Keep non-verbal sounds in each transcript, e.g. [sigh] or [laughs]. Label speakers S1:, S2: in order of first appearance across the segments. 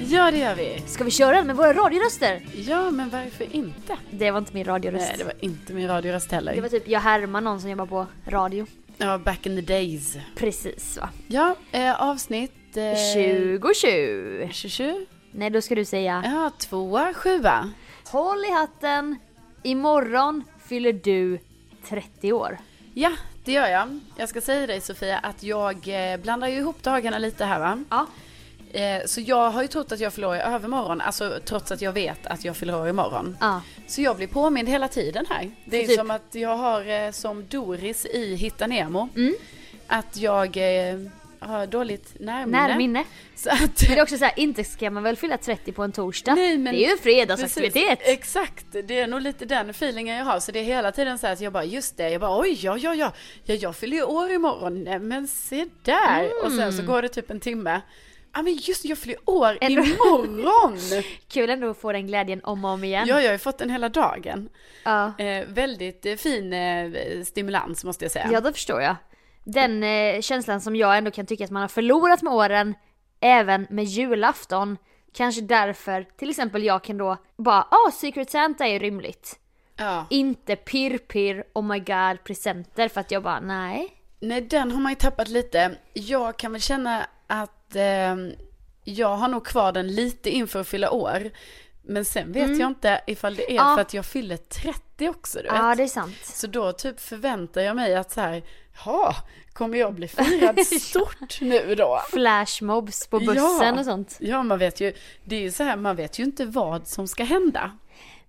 S1: Ja, det gör vi.
S2: Ska vi köra den med våra radioröster?
S1: Ja, men varför inte?
S2: Det var inte min radioröst.
S1: Nej, det var inte min radioröst heller.
S2: det var typ jag härmar någon som jobbar på radio.
S1: Ja, back in the days.
S2: Precis va.
S1: Ja, eh, avsnitt... Eh,
S2: 2020.
S1: 27?
S2: Nej då ska du säga
S1: Ja, tvåa, sjua.
S2: Håll i hatten, imorgon fyller du 30 år.
S1: Ja, det gör jag. Jag ska säga dig Sofia att jag eh, blandar ju ihop dagarna lite här va.
S2: Ja.
S1: Eh, så jag har ju trott att jag förlorar i övermorgon, alltså trots att jag vet att jag förlorar imorgon.
S2: Ja.
S1: Så jag blir påmind hela tiden här. Det är
S2: Så typ-
S1: som att jag har eh, som Doris i Hitta Nemo.
S2: Mm.
S1: Att jag eh, har dåligt närminne.
S2: Närminne.
S1: Så att,
S2: Men det är också så här, inte ska man väl fylla 30 på en torsdag?
S1: Nej, men- Eh.
S2: det är ju en fredagsaktivitet.
S1: Precis, exakt, det är nog lite den feelingen jag har. Så det är hela tiden så här att jag bara, just det, jag bara oj, ja, ja, ja, ja jag fyller ju år imorgon, nej men se där. Och sen så går det typ en timme. Ja men just det, jag fyller år
S2: Mm. Ändå-
S1: imorgon!
S2: Kul [laughs] ändå att få den glädjen om och om igen.
S1: ja, jag har ju fått den hela dagen.
S2: Ja.
S1: Eh, väldigt eh, fin eh, stimulans måste jag säga.
S2: Ja, det förstår jag. Den eh, känslan som jag ändå kan tycka att man har förlorat med åren, även med julafton. Kanske därför, till exempel jag kan då bara, ah, Secret Santa är ju rymligt.
S1: Ja.
S2: Inte pirr-pirr, oh my god, presenter. För att jag bara, nej.
S1: Nej, den har man ju tappat lite. Jag kan väl känna att eh, jag har nog kvar den lite inför att fylla år. Men sen vet jag inte ifall det är
S2: Mm. Ja.
S1: för att jag fyller 30 också, du vet.
S2: Ja, det är sant.
S1: Så då typ förväntar jag mig att så här, ha, kommer jag
S2: [laughs]
S1: bli firad stort nu då?
S2: Flashmobs på bussen och sånt.
S1: Ja, man vet ju, det är ju så här, man vet ju inte vad som ska hända.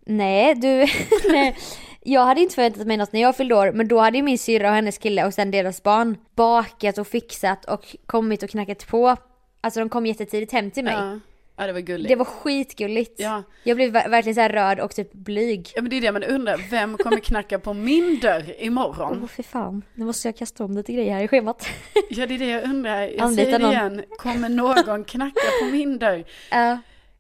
S2: Nej, du. [laughs] nej. Jag hade inte förväntat mig något när jag fyllde år, men då hade ju min syrra och hennes kille och sen deras barn bakat och fixat och kommit och knackat på. Alltså de kom jättetidigt hem till mig.
S1: Ja, ja det var gulligt.
S2: Det var skitgulligt.
S1: Ja.
S2: Jag blev ver- verkligen så här rörd och typ blyg.
S1: Ja, men det är det man undrar, vem kommer knacka på min dörr
S2: Åh
S1: imorgon?
S2: fy fan, nu måste jag kasta om lite grejer här i schemat. [laughs]
S1: Ja, det är det jag undrar. Jag
S2: Anlita
S1: säger det
S2: någon.
S1: igen. Kommer någon knacka på min dörr?
S2: Ja.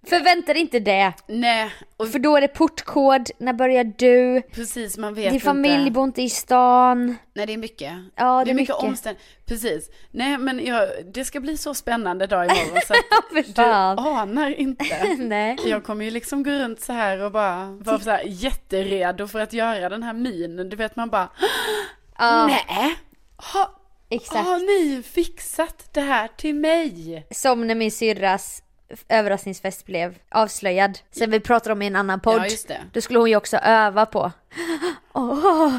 S2: Förvänta dig inte det.
S1: Nej, och
S2: För då är det portkod, när börjar du?
S1: precis, man vet
S2: Din familj
S1: inte.
S2: bor inte i stan.
S1: Nej, det är mycket.
S2: Ja, det
S1: det
S2: är
S1: är mycket,
S2: mycket.
S1: omständ... Precis. Nej, men jag... det ska bli så spännande dag imorgon
S2: [laughs]
S1: så att
S2: Fy
S1: du
S2: fan.
S1: anar inte.
S2: [laughs] Nej.
S1: Jag kommer ju liksom gå runt så här och bara vara så här jätteredo för att göra den här minen. Du vet, man bara, [gasps]
S2: Ja,
S1: nej, ha...
S2: exakt.
S1: har ni fixat det här till mig?
S2: Som när min syrras f- överraskningsfest blev avslöjad. Sen vi pratade om i en annan podd.
S1: Ja, just det.
S2: Då skulle hon ju också öva på. Åh!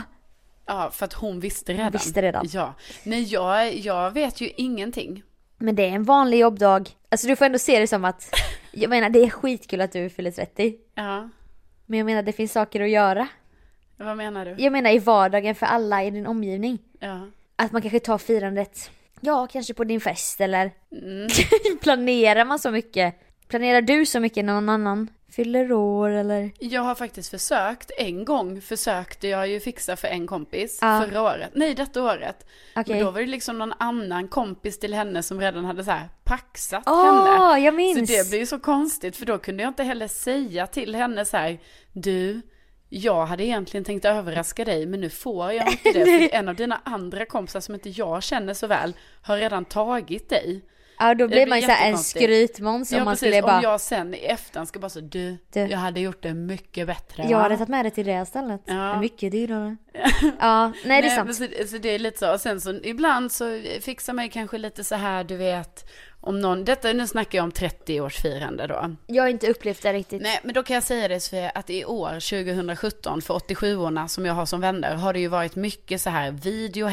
S1: Ja, för att hon visste redan.
S2: visste redan.
S1: Ja. Nej, jag, jag vet ju ingenting.
S2: Men det är en vanlig jobbdag. Alltså du får ändå se det som
S1: [laughs]
S2: att, jag menar det är skitkul att du fyller 30.
S1: Ja,
S2: Men jag menar det finns saker att göra.
S1: vad menar du?
S2: Jag menar i vardagen för alla i din omgivning.
S1: Ja.
S2: Att man kanske tar [laughs]
S1: Mm.
S2: firandet, ja kanske på din fest eller planerar man så mycket. Planerar du så mycket när någon annan fyller år eller?
S1: Jag har faktiskt försökt, en gång försökte jag ju fixa för en kompis
S2: Ja.
S1: förra året, nej detta året.
S2: Okej.
S1: Men då var det liksom någon annan kompis till henne som redan hade så här paxat
S2: Åh,
S1: henne.
S2: jag minns!
S1: Så det blev ju så konstigt för då kunde jag inte heller säga till henne så här, du, jag hade egentligen tänkt överraska dig men nu får jag
S2: [laughs]
S1: inte det för en av dina andra kompisar som inte jag känner så väl har redan tagit dig.
S2: Ja då blir
S1: blir
S2: man ju såhär en
S1: jättekonstigt.
S2: skrytmåns om
S1: ja
S2: man
S1: precis,
S2: skulle bara
S1: om jag sen i efterhand ska bara så, du,
S2: Du.
S1: jag hade gjort det mycket bättre.
S2: Jag
S1: va?"
S2: hade tagit med det till det här stället.
S1: Ja.
S2: Det är mycket
S1: [laughs]
S2: dyrare. Ja, nej det är sant.
S1: men Så, så det är lite så. Och sen så ibland så fixar man ju kanske lite så här, du vet, om någon, detta nu snackar jag om 30-årsfirande då.
S2: Jag har inte upplevt det riktigt.
S1: Nej, men då kan jag säga det Sofia, att i år, 2017, för 87-orna som jag har som vänner, har det ju varit mycket så här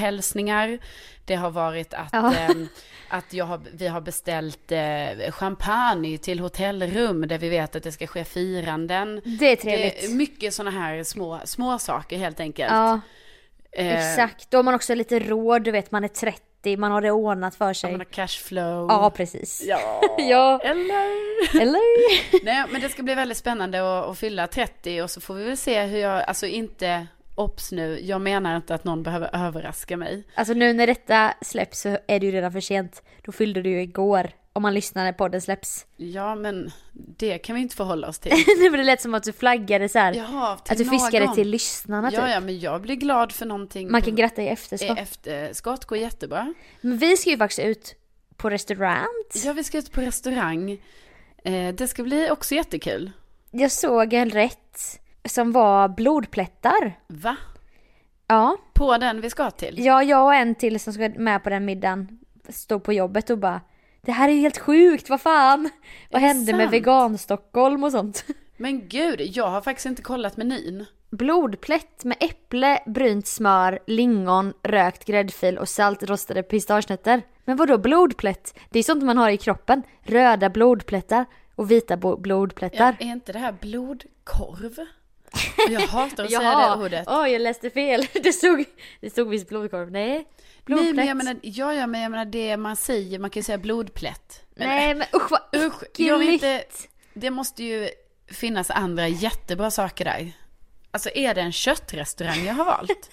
S1: videohälsningar. Det har varit att,
S2: Ja.
S1: ehm, att jag har, vi har beställt eh, champagne till hotellrum där vi vet att det ska ske firanden.
S2: Det är trevligt.
S1: Det är mycket sådana här små, små saker helt enkelt.
S2: ja,
S1: Eh,
S2: exakt. Då har man också lite råd, du vet man är 30, man har det ordnat för sig.
S1: Man har cashflow.
S2: Ja, precis.
S1: Ja,
S2: [laughs] Ja.
S1: eller?
S2: Eller?
S1: Nej, men det ska bli väldigt spännande att, att fylla 30 och så får vi väl se hur jag, alltså inte, obs nu, jag menar inte att någon behöver överraska mig.
S2: Alltså nu när detta släpps så är det ju redan för sent. Då fyllde du ju igår. Om man lyssnar när podden släpps. [laughs]
S1: Ja, men det kan vi inte förhålla oss till.
S2: nu blir det lätt som att du flaggade så här.
S1: Jaha, till
S2: att du fiskade
S1: någon.
S2: till lyssnarna typ.
S1: Ja, ja, men jag blir glad för någonting.
S2: Man kan gratta i
S1: Eh,
S2: efterskott.
S1: Efterskott går jättebra.
S2: Men vi ska ju faktiskt ut på restaurang.
S1: Ja, vi ska ut på restaurang. Eh, Det ska bli också jättekul.
S2: Jag såg en rätt som var blodplättar.
S1: Va?
S2: Ja,
S1: På den vi ska till?
S2: ja jag och en till som ska med på den middagen stod på jobbet och bara Det här är ju helt sjukt, vad fan! Vad
S1: Är det
S2: hände med
S1: sant?
S2: vegan-Stockholm och sånt?
S1: Men gud, jag har faktiskt inte kollat menyn.
S2: Blodplätt med äpple, brynt smör, lingon, rökt gräddfil och saltrostade pistagenötter. Men vadå blodplätt? Det är sånt man har i kroppen. Röda blodplättar och vita bo- blodplättar.
S1: Är inte det här blodkorv? Jag hatar att
S2: [laughs]
S1: säga
S2: Jaha.
S1: det ordet.
S2: Oj, jag läste fel. [laughs] Det stod, det stod visst blodkorv. Nej.
S1: Nej
S2: Blodplätt.
S1: men jag menar, ja, ja men jag menar det man säger, man kan ju säga blodplätt. Men,
S2: Nej, men usch vad
S1: usch, jag vill inte, det måste ju finnas andra jättebra saker där. Alltså är det en köttrestaurang jag
S2: [laughs]
S1: har valt?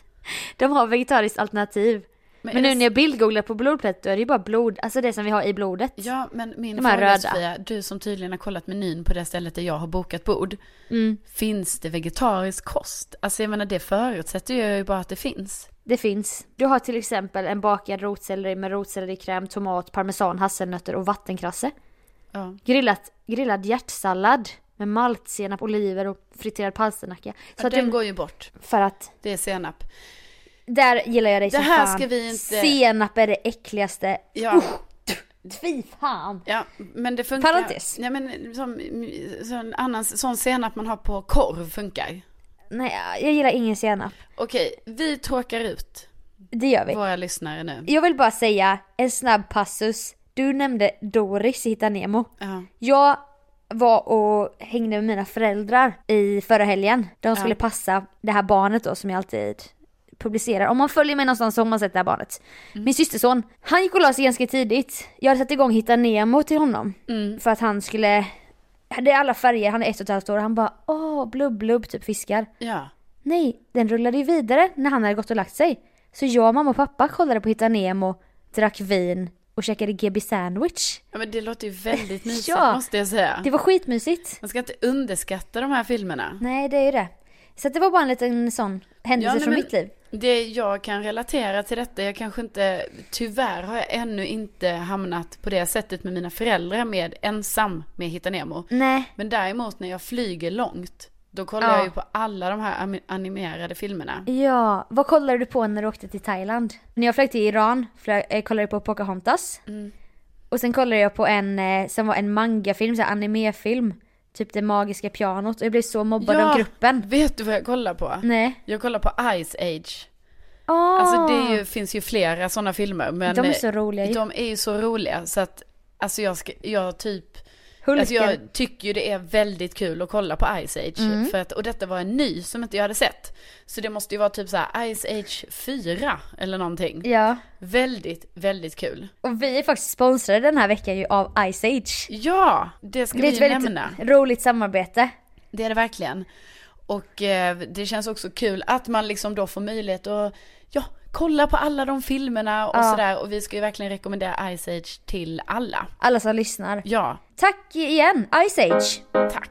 S2: De har vegetariskt alternativ. Men,
S1: är
S2: nu
S1: det-
S2: när jag bildgooglar på blodplätt då är det ju bara blod, alltså det som vi har i blodet.
S1: Ja men min
S2: De här
S1: fråga
S2: röda.
S1: Sofia, du som tydligen har kollat menyn på det stället där jag har bokat bord.
S2: Mm.
S1: Finns det vegetarisk kost? Alltså jag menar det förutsätter ju bara att det finns.
S2: Det finns. Du har till exempel en bakad rotselleri med rotsellerikräm, tomat, parmesan, hasselnötter och vattenkrasse.
S1: Ja.
S2: Grillat, grillad hjärtsallad med maltsenap, oliver och friterad palsternacka. Så
S1: Så
S2: att
S1: den
S2: den,
S1: går ju bort,
S2: för att
S1: det är senap.
S2: Där gillar jag dig
S1: Det
S2: som
S1: här
S2: fan.
S1: ska vi inte-
S2: Senap är det äckligaste.
S1: Ja.
S2: Fy fan.
S1: Ja, men det funkar.
S2: Parentes.
S1: Ja, men som, som en annan sån senap man har på korv funkar.
S2: Nej, jag gillar ingen senap.
S1: Okej, vi tråkar ut
S2: Det gör vi.
S1: våra lyssnare nu.
S2: Jag vill bara säga en snabb passus. Du nämnde Doris i Hitta Nemo.
S1: Ja.
S2: Jag var och hängde med mina föräldrar i förra helgen. De skulle passa det här barnet då som jag alltid publicerar. Om man följer mig någonstans så har man sett det här barnet. Min systerson, han gick och la sig ganska tidigt. Jag hade satt igång Hitta Nemo till honom. För att han skulle, det är alla färger, han är ett och ett halvt år. Han bara åh blubb blubb typ fiskar.
S1: ja.
S2: Nej, den rullade ju vidare när han hade gått och lagt sig. Så jag, mamma och pappa kollade på Hitta Nemo, drack vin och käkade GB sandwich.
S1: Ja, men det låter ju väldigt
S2: [laughs]
S1: mysigt
S2: Ja.
S1: måste jag säga.
S2: Det var skitmysigt.
S1: Man ska inte underskatta de här filmerna.
S2: Nej, det är ju det. Så att det var bara en liten sån händelse
S1: nej,
S2: från
S1: men
S2: mitt liv.
S1: Det jag kan relatera till detta, jag kanske inte, tyvärr har jag ännu inte hamnat på det sättet med mina föräldrar med ensam med Hitta Nemo.
S2: Nej.
S1: Men däremot när jag flyger långt, då kollar
S2: Ja.
S1: jag ju på alla de här ami- animerade filmerna.
S2: Ja, vad kollade du på när du åkte till Thailand? När jag flög till Iran flög, eh, kollade jag på Pocahontas.
S1: Mm.
S2: Och sen kollade jag på en eh, som var en mangafilm, så här animefilm. Typ det magiska pianot. Och jag blev så mobbad av gruppen.
S1: vet du vad jag kollar på?
S2: Nej.
S1: Jag kollar på Ice Age.
S2: Oh.
S1: Alltså det är ju, finns ju flera sådana filmer. Men eh,
S2: De är så roliga ju.
S1: De är ju så roliga så att, alltså jag, ska, jag typ
S2: Hulken.
S1: Alltså jag tycker ju det är väldigt kul att kolla på Ice Age.
S2: Mm.
S1: För att, och detta var en ny som inte jag hade sett. Så det måste ju vara typ så här Ice Age 4 eller någonting.
S2: Ja.
S1: Väldigt, väldigt kul.
S2: Och vi är faktiskt sponsrade den här veckan ju av Ice Age.
S1: Ja, det ska
S2: Det är
S1: vi
S2: ett väldigt
S1: nämna.
S2: roligt samarbete.
S1: Det är det verkligen. Och eh, det känns också kul att man liksom då får möjlighet att ja, kolla på alla de filmerna och sådär. Och vi ska ju verkligen rekommendera Ice Age till alla.
S2: Alla som lyssnar.
S1: Ja,
S2: Tack igen, Ice Age!
S1: tack.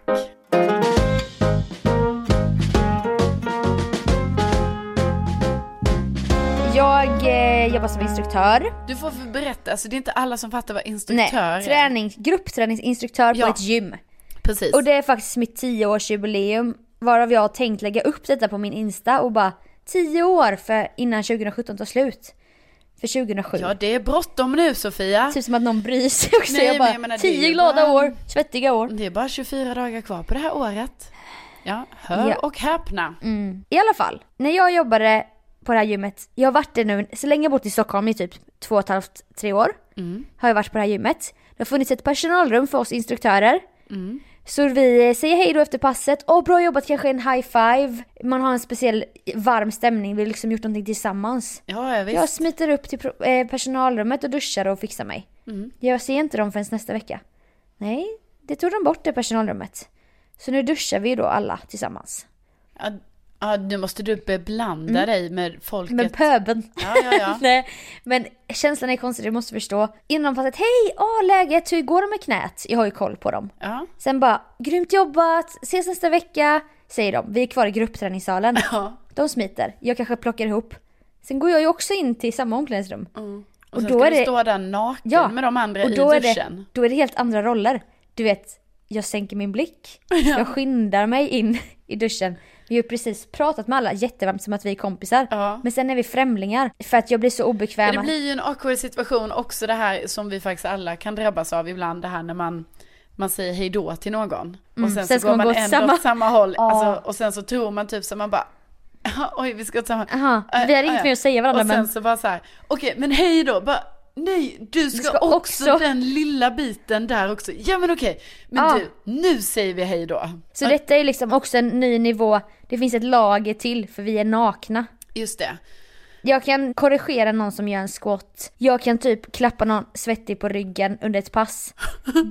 S2: Jag eh, jobbar som instruktör.
S1: Du får för- berätta, alltså det är inte alla som fattar vad
S2: Nej,
S1: instruktör är.
S2: träning, gruppträningsinstruktör
S1: Ja.
S2: på ett gym.
S1: Precis.
S2: Och det är faktiskt mitt 10-årsjubileum. Varav jag har tänkt lägga upp detta på min Insta och bara 10 år för innan 2017 tar slut. För 2007.
S1: Ja, det är bråttom nu Sofia.
S2: Typ som att någon bryr sig också.
S1: Nej,
S2: jag
S1: men
S2: bara,
S1: jag menar, det är
S2: 10
S1: ju
S2: glada
S1: bara-
S2: år, svettiga år.
S1: Det är bara 24 dagar kvar på det här året. Ja, hör
S2: Ja. Mm.
S1: och häpna.
S2: I alla fall, när jag jobbade på det här gymmet, jag har varit där nu, så länge jag bott i Stockholm i typ två och ett halvt, tre år. Har jag varit på det här gymmet. Det har funnits ett personalrum för oss instruktörer. Så vi säger hej då efter passet, åh bra jobbat, kanske en high five. Man har en speciell varm stämning, vi har liksom gjort någonting tillsammans.
S1: Ja, ja, visst.
S2: Jag smiter upp till pro- eh, personalrummet och duschar och fixar mig. Jag ser inte dem förrän nästa vecka. Nej, det tog de bort det personalrummet. Så nu duschar vi då alla tillsammans.
S1: Ja, ja, nu måste du beblanda dig med folket.
S2: Mm. Men pöbeln.
S1: Ja, ja, ja.
S2: [laughs] Nej, men känslan är konstig, du måste förstå. Innan passet, hej, åh läget, hur går det med knät? Jag har ju koll på dem.
S1: ja.
S2: Sen bara, grymt jobbat, ses nästa vecka, säger de. Vi är kvar i gruppträningssalen.
S1: Ja.
S2: De smiter, jag kanske plockar ihop. Sen går jag ju också in till samma omklädningsrum.
S1: Och, sen då ska är du det... stå där naken
S2: Ja,
S1: med de andra
S2: och då
S1: i
S2: är, det,
S1: duschen.
S2: då är det helt andra roller. Du vet, jag sänker min
S1: [laughs]
S2: blick, jag skyndar mig in i duschen. Vi har ju precis pratat med alla jättevarmt som att vi är kompisar.
S1: Ja.
S2: Men sen är vi främlingar för att jag blir så obekväm.
S1: Det
S2: att-
S1: blir ju en awkward situation också det här som vi faktiskt alla kan drabbas av ibland. Det här när man, man säger hej då till någon. Och sen,
S2: Mm, sen
S1: så
S2: ska man
S1: går man
S2: gå åt
S1: ändå
S2: samma-
S1: åt samma håll.
S2: Ja.
S1: Alltså, och sen så tror man typ så man bara [laughs] Oj, vi ska åt samma...
S2: Aha,
S1: Eh,
S2: vi hade inget
S1: eh,
S2: mer att säga varandra,
S1: Och sen
S2: men-
S1: så bara så här, okej men hej då, bara, nej du ska,
S2: ska
S1: också,
S2: också-
S1: den lilla biten där också. Ja men okej, men
S2: Ja.
S1: du, nu säger vi hej då.
S2: Så detta är liksom också en ny nivå. Det finns ett lager till för vi är nakna.
S1: Just det.
S2: Jag kan korrigera någon som gör en squat. Jag kan typ klappa någon svettig på ryggen under ett
S1: [laughs]
S2: pass.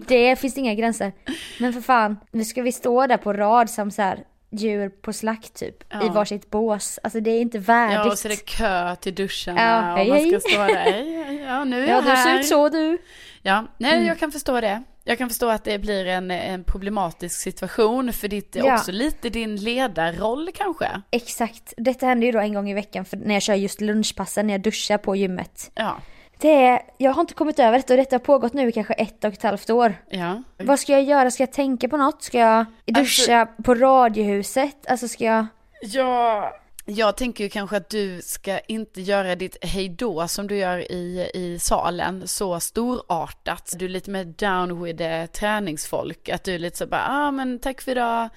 S2: Det finns inga gränser. Men för fan, nu ska vi stå där på rad som så här djur på slakt typ. I varsitt bås. Alltså det är inte värdigt.
S1: Ja, och så är det kö till duschen
S2: Ja,
S1: och
S2: hej,
S1: man ska
S2: hej.
S1: stå där. Hej, hej, Ja, nu är
S2: Ja,
S1: jag
S2: du ser
S1: här.
S2: ut så Mm. du.
S1: Ja, nej jag kan förstå det. Jag kan förstå att det blir en, en problematisk situation för ditt,
S2: Ja.
S1: också lite din ledarroll kanske.
S2: Exakt. Detta händer ju då en gång i veckan för när jag kör just lunchpassen, när jag duschar på gymmet.
S1: Ja,
S2: Det är, jag har inte kommit över detta och detta har pågått nu i kanske ett och ett halvt år.
S1: ja.
S2: Vad ska jag göra? Ska jag tänka på något? Ska jag
S1: Alltså-
S2: duscha på radiohuset? Alltså ska jag...
S1: Ja. Jag tänker ju kanske att du ska inte göra ditt hejdå som du gör i, i salen så storartat. Du är lite mer down with the träningsfolk. Att du är lite så bara, ah men tack för idag.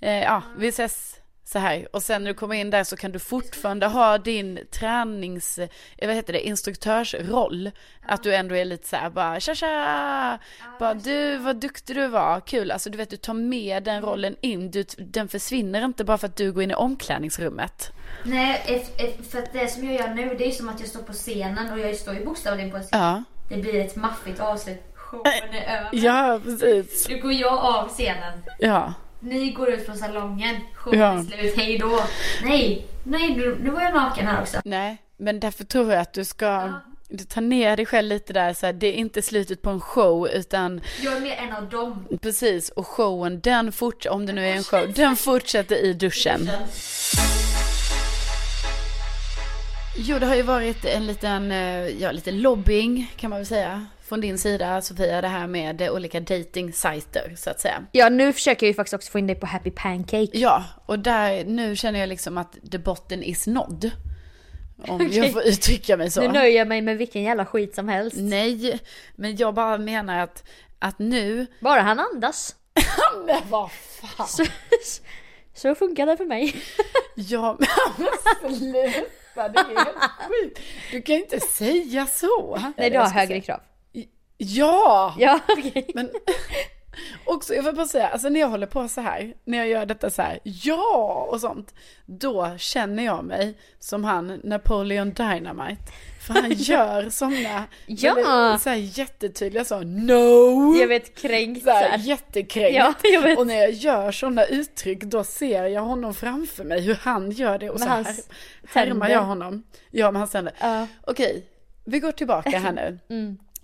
S1: Eh, ja, vi ses så här. Och sen när du kommer in där så kan du fortfarande ha din tränings, eh, vad heter det, instruktörsroll. Att du ändå är lite så här bara, tja tja! Bara du, vad duktig du var, kul. Alltså du vet, du tar med den rollen in. Du, den försvinner inte bara för att du går in i omklädningsrummet.
S2: Nej, eff- eff- för att det som jag gör nu det är ju som att jag står på scenen och jag står ju bokstavligen på en scen.
S1: Ja. Äh,
S2: Det blir ett maffigt avslut. Showen är över.
S1: Ja, precis.
S2: Nu går jag av scenen.
S1: Ja.
S2: Ni går ut från salongen. Showen
S1: Ja.
S2: är slut. Hej då. Nej, nej nu, nu var jag naken här också.
S1: Nej, men därför tror jag att du ska, du tar ner dig själv lite där så här, det är inte slutet på en show utan
S2: Jag är mer en av dem.
S1: Precis, och showen, den fortsätter, om det nu är en show, den fortsätter i duschen. Jo, det har ju varit en liten, eh, ja, lite lobbying kan man väl säga. Från din sida Sofia, det här med eh, olika dating sajter så att säga.
S2: Ja, nu försöker jag ju faktiskt också få in dig på Happy Pancake.
S1: Ja, och där, nu känner jag liksom att the botten is nådd. Om jag får uttrycka mig så.
S2: Nu nöjer jag mig med vilken jävla skit som helst.
S1: Nej, men jag bara menar att, att nu...
S2: Bara han [laughs] andas.
S1: Men vad fan!
S2: Så, [laughs] så funkar det för mig.
S1: Ja, men sluta, det är helt sjukt. Du kan ju inte säga så.
S2: Nej, du har högre krav.
S1: Ja,
S2: Ja, [laughs] okej.
S1: men Och så, jag vill bara säga, alltså när jag håller på så här, när jag gör detta så här, ja och sånt, då känner jag mig som han Napoleon Dynamite. För [laughs] han gör sådana,
S2: Ja.
S1: väldigt så här jättetydliga så, no!
S2: Jag vet kränkt [laughs]
S1: så här,
S2: såhär.
S1: jättekränkt.
S2: Ja, jag vet.
S1: Och när jag gör sådana uttryck då ser jag honom framför mig hur han gör det och
S2: Med
S1: så här,
S2: hans
S1: härmar
S2: tänder.
S1: jag honom. Ja med hans tänder.
S2: Ja. Mm.
S1: Okej, vi går tillbaka
S2: [laughs]
S1: här nu.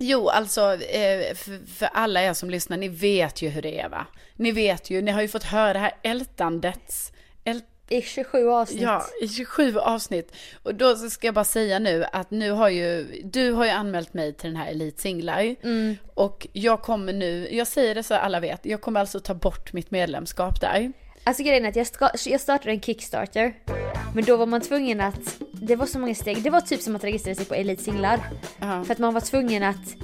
S1: Jo, alltså eh, för, för alla er som lyssnar, ni vet ju hur det är va? Ni vet ju, ni har ju fått höra det här ältandets, ält,
S2: I 27 avsnitt.
S1: Ja, i 27 avsnitt. Och då så ska jag bara säga nu att nu har ju, du har ju anmält mig till den här Elite Singlar.
S2: Mm.
S1: Och jag kommer nu, jag säger det så alla vet, jag kommer alltså ta bort mitt medlemskap där.
S2: Alltså grejen är att jag, ska, jag startade en Kickstarter. Men då var man tvungen att, det var så många steg, det var typ som att registrera sig på Elite Singlar.
S1: Ja.
S2: För att man var tvungen att,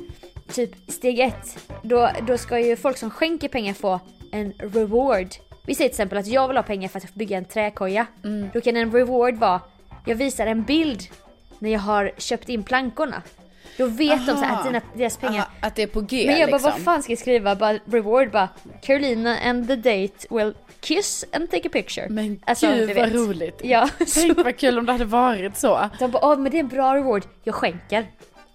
S2: typ steg ett, då, då ska ju folk som skänker pengar få en reward. Vi säger till exempel att jag vill ha pengar för att bygga en träkoja.
S1: Mm.
S2: Då kan en reward vara, jag visar en bild när jag har köpt in plankorna. Då vet de så här att dina, deras pengar
S1: Aha, Att det är på G
S2: men jag
S1: liksom.
S2: bara, vad fan ska jag skriva? Bara, reward bara, Carolina and the date will kiss and take a picture.
S1: Men
S2: Alltså, du
S1: gud vad
S2: vet.
S1: roligt.
S2: Ja, så.
S1: Tänk vad kul om det hade varit så.
S2: De bara, åh men det är en bra reward, jag skänker.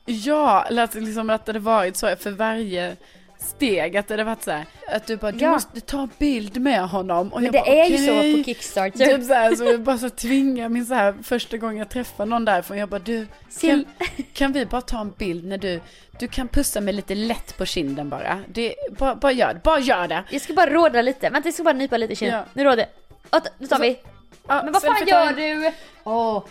S1: Ja, eller att, liksom, att det hade varit så för varje steg. Att det hade varit så här, att du bara, du
S2: Ja.
S1: måste ta en bild med honom. Och
S2: Men
S1: jag
S2: det
S1: bara,
S2: är ju så
S1: okej.
S2: på Kickstarter.
S1: Typ så här, så jag bara så tvingar min så här, första gången jag träffar någon därifrån. Jag bara, du, kan,
S2: Sil-
S1: kan vi bara ta en bild när du, du kan pussa mig lite lätt på kinden bara. Det, bara, bara gör det, bara gör det.
S2: Jag ska bara råda lite, vänta jag ska bara nypa lite i kinden.
S1: Ja.
S2: Nu råder jag. Åh, Nu tar vi.
S1: Ja,
S2: Men vad
S1: sen
S2: fan
S1: får jag
S2: gör
S1: ta en-
S2: du? Åh,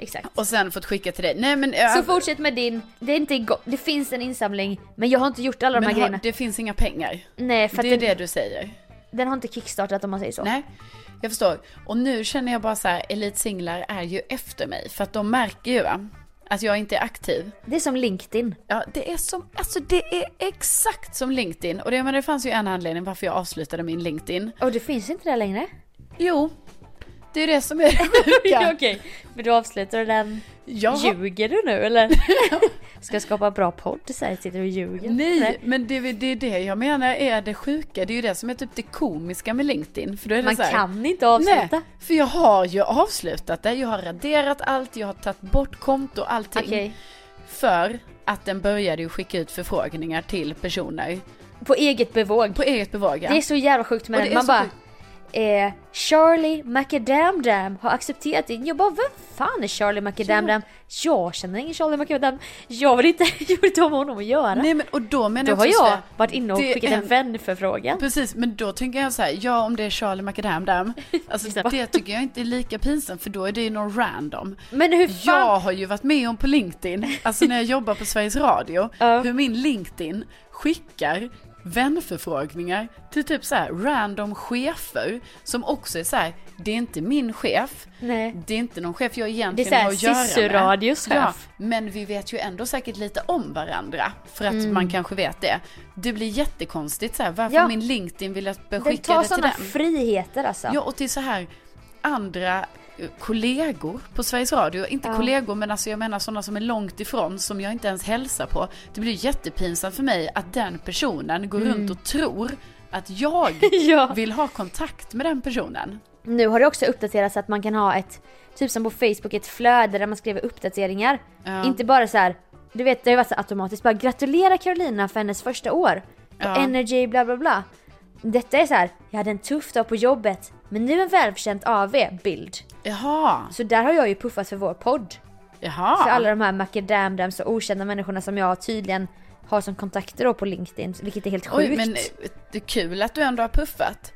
S2: exakt.
S1: Och sen fått skicka till dig. Nej men, ja,
S2: Så fortsätt med din, det är inte igång, det finns en insamling men jag har inte gjort alla de
S1: men
S2: här
S1: har-
S2: grejerna.
S1: det finns inga pengar.
S2: Nej för att
S1: Det är
S2: den,
S1: det du säger.
S2: den har inte kickstartat om man säger så.
S1: Nej, jag förstår. Och nu känner jag bara så här, Elite Singlar är ju efter mig. För att de märker ju va, att jag inte är aktiv.
S2: Det är som LinkedIn.
S1: Ja, det är som, alltså det är exakt som LinkedIn. Och det, men det fanns ju en anledning varför jag avslutade min LinkedIn.
S2: Och det finns inte där
S1: [laughs]
S2: längre.
S1: Jo, det är det som är det
S2: [laughs]
S1: sjuka.
S2: Okej, men du avslutar den.
S1: Jag har-
S2: Ljuger du nu
S1: [laughs]
S2: eller? Ska jag skapa bra podd så här sitter du och ljuger?
S1: Nej, men det, är- det är det jag menar är det sjuka. Det är ju det som är typ det komiska med LinkedIn. För då är det
S2: Man
S1: så här,
S2: kan inte avsluta.
S1: Nej, för jag har ju avslutat det. Jag har raderat allt, jag har tagit bort konto och allting.
S2: Okej.
S1: För att den började ju skicka ut förfrågningar till personer
S2: På eget bevåg.
S1: på eget bevåg. ja.
S2: Det är så jävla sjukt
S1: Och
S2: med
S1: det
S2: den.
S1: är
S2: Man
S1: så
S2: bara...
S1: sjukt.
S2: Eh, Charlie Macadamdam har accepterat din. Jag bara, vem fan är Charlie Macadamdam? Jag känner ingen Charlie Macadam. Jag vill inte, [laughs] jag vill inte ha med honom att göra.
S1: Nej men och då menar
S2: Då
S1: jag
S2: har
S1: också så
S2: jag
S1: här,
S2: varit inne och
S1: det är
S2: skickat en vänförfrågan.
S1: Precis, men då tänker jag så här, ja om det är
S2: [laughs]
S1: Charlie Macadam alltså
S2: Snabbt.
S1: det tycker jag inte är lika pinsamt för då är det ju någon random.
S2: Men hur fan?
S1: Jag har ju varit med om på LinkedIn, alltså när jag jobbar på Sveriges Radio,
S2: [laughs] Ja.
S1: hur min LinkedIn skickar vänförfrågningar till typ så här random chefer som också är så här, det är inte min chef,
S2: Nej.
S1: det är inte någon chef jag
S2: Det är
S1: egentligen
S2: så
S1: har
S2: här
S1: att göra med.
S2: Sisu-radios
S1: Ja,
S2: chef.
S1: men vi vet ju ändå säkert lite om varandra, för att man kanske vet det. Det blir jättekonstigt så här, varför
S2: Mm. Ja.
S1: min LinkedIn vill att
S2: Den
S1: beskicka
S2: tar
S1: det till
S2: sådana
S1: den.
S2: friheter alltså.
S1: Ja, och till så här andra eh, kollegor på Sveriges Radio. Inte kollegor, men alltså jag menar sådana som är långt ifrån, som jag inte ens hälsar på. Det blir jättepinsamt för mig att den personen går runt och tror att jag
S2: Mm. [laughs] Ja.
S1: vill ha kontakt med den personen.
S2: Nu har det också uppdaterats så att man kan ha ett, typ som på Facebook, ett flöde där man skriver uppdateringar. Inte bara så här, du vet det har ju varit så här automatiskt bara gratulera Carolina för hennes första år. Och energy bla bla bla. Detta är så här, jag hade en tuff dag på jobbet men nu en välförtjänt AV bild.
S1: Jaha,
S2: Så där har jag ju puffat för vår podd.
S1: jaha.
S2: För alla de här macadamdams och okända människorna som jag tydligen har som kontakter då på LinkedIn, vilket är helt sjukt.
S1: Oj, men eh, det är kul att du ändå har puffat.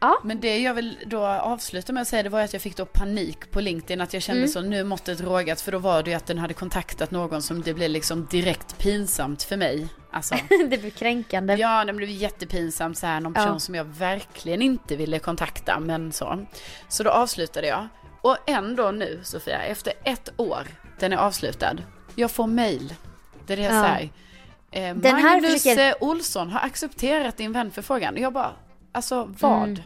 S2: Ja.
S1: Men det jag vill då avsluta med att säga det var ju att jag fick då panik på LinkedIn att jag kände så nu är måttet rågat för då var det ju att den hade kontaktat någon som det blev liksom direkt pinsamt för mig. Alltså,
S2: [laughs] det blir kränkande.
S1: ja det blev jättepinsamt så här någon
S2: Ja.
S1: person som jag verkligen inte ville kontakta men så. Så då avslutade jag. Och ändå nu Sofia, efter ett år, den är avslutad, jag får mail. Det är det jag
S2: Ja.
S1: säger. Eh,
S2: Den här
S1: Magnus
S2: försöker-
S1: eh, Olsson har accepterat din vänförfrågan. Jag bara, alltså vad?
S2: Mm.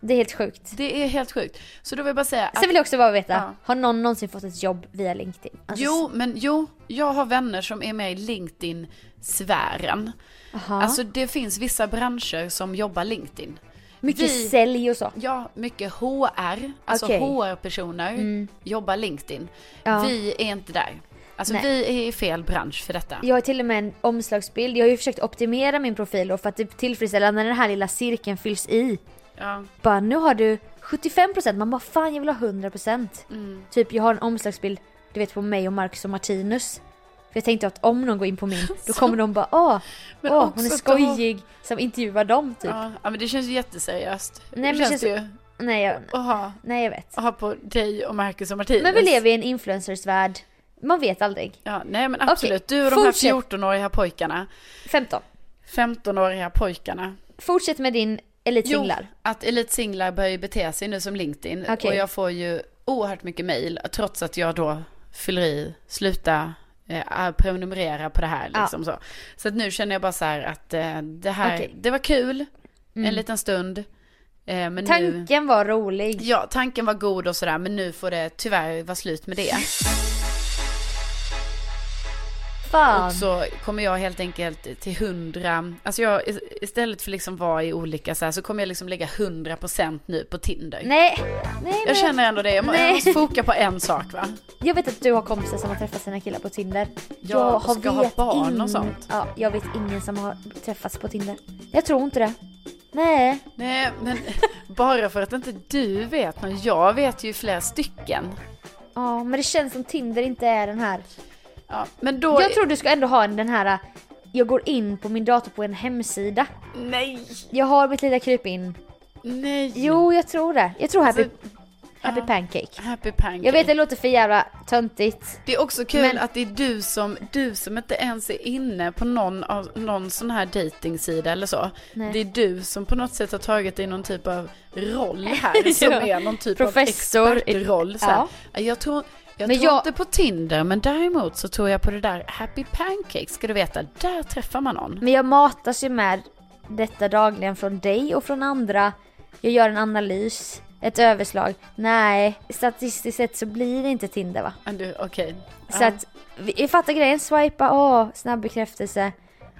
S2: Det är helt sjukt.
S1: Det är helt sjukt. Så då vill jag bara säga att,
S2: Sen vill jag också bara veta,
S1: Ja.
S2: har någon någonsin fått ett jobb via LinkedIn? Alltså,
S1: jo, men jo, jag har vänner som är med i LinkedIn-sfären. Alltså det finns vissa branscher som jobbar LinkedIn.
S2: Mycket
S1: Vi-
S2: sälj och så.
S1: Ja, mycket HR, alltså
S2: Okej. Mm.
S1: HR-personer jobbar LinkedIn. Vi är inte där. Alltså
S2: Nej.
S1: vi är i fel bransch för detta.
S2: Jag har till och med en omslagsbild. Jag har ju försökt optimera min profil då för att typ tillfredsställa när den här lilla cirkeln fylls i.
S1: Ja.
S2: Bara nu har du 75%, man bara fan jag vill ha 100%.
S1: Mm.
S2: Typ jag har en omslagsbild, du vet på mig och Marcus och Martinus. För jag tänkte att om någon går in på
S1: [laughs]
S2: min, då kommer de bara åh,
S1: Men
S2: åh
S1: också
S2: hon är
S1: att de-
S2: skojig som intervjuar dem typ.
S1: Ja, ja, men det känns ju jätteseriöst.
S2: Nej, men
S1: det
S2: det
S1: känns
S2: känns-
S1: ju
S2: Nej, jag,
S1: att ha,
S2: nej jag vet.
S1: att ha på dig och Marcus och Martinus.
S2: Men vi lever i en influencers värld, man vet aldrig.
S1: Ja, nej men absolut.
S2: Okej,
S1: Du och de här
S2: fortsätt.
S1: 14-åriga pojkarna,
S2: 15.
S1: 15-åriga pojkarna.
S2: Fortsätt med din elitsinglar.
S1: Jo, att elitsinglar börjar ju bete sig nu som LinkedIn.
S2: Okej.
S1: Och jag får ju oerhört mycket mail trots att jag då fyller i, sluta eh, prenumerera på det här liksom så. Så att nu känner jag bara så här att eh, det här,
S2: Okej. Mm.
S1: det var kul en liten stund. Eh, men nu,
S2: Tanken var rolig.
S1: ja tanken var god och sådär men nu får det tyvärr vara slut med det.
S2: Fan.
S1: Och så kommer jag helt enkelt till hundra, alltså jag is- istället för liksom vara i olika så här så kommer jag liksom lägga hundra procent nu på Tinder.
S2: Nej. Nej men
S1: Jag känner ändå det, jag må- jag
S2: Nej.
S1: måste foka på en sak va.
S2: jag vet att du har kompisar som har träffat sina killar på Tinder.
S1: Ja, och ska ha barn och sånt.
S2: Ja, jag vet ingen som har träffats på Tinder. Jag tror inte det. Nej.
S1: Nej men [laughs] bara för att inte du vet men jag vet ju flera stycken.
S2: Ja, men det känns som Tinder inte är den här.
S1: Ja, men då...
S2: Jag tror du ska ändå ha en- den här jag går in på min dator på en hemsida.
S1: Nej!
S2: Jag har mitt lilla krypin.
S1: Nej!
S2: Jo, jag tror det. Jag tror Happy,
S1: Alltså,
S2: happy
S1: Mm. ja.
S2: Pancake.
S1: Happy pancake.
S2: Jag vet det låter för jävla töntigt.
S1: Det är också kul
S2: Men-
S1: att det är du som, du som inte ens är inne på någon, av, någon sån här dejtingsida eller så.
S2: Nej.
S1: Det är du som på något sätt har tagit dig någon typ av roll
S2: [laughs]
S1: här som
S2: Ja.
S1: är någon typ
S2: Professor.
S1: av expertroll. Så här. Jag tror, jag
S2: Men
S1: tror
S2: jag-
S1: inte på Tinder men däremot så tror jag på det där Happy Pancake ska du veta, där träffar man någon.
S2: Men jag matas ju med detta dagligen från dig och från andra. Jag gör en analys, ett överslag. Nej, statistiskt sett så blir det inte Tinder va?
S1: Men du, Okej.
S2: Så
S1: Ja.
S2: att, vi- vi fattar grejen, swipa, åh, snabb bekräftelse.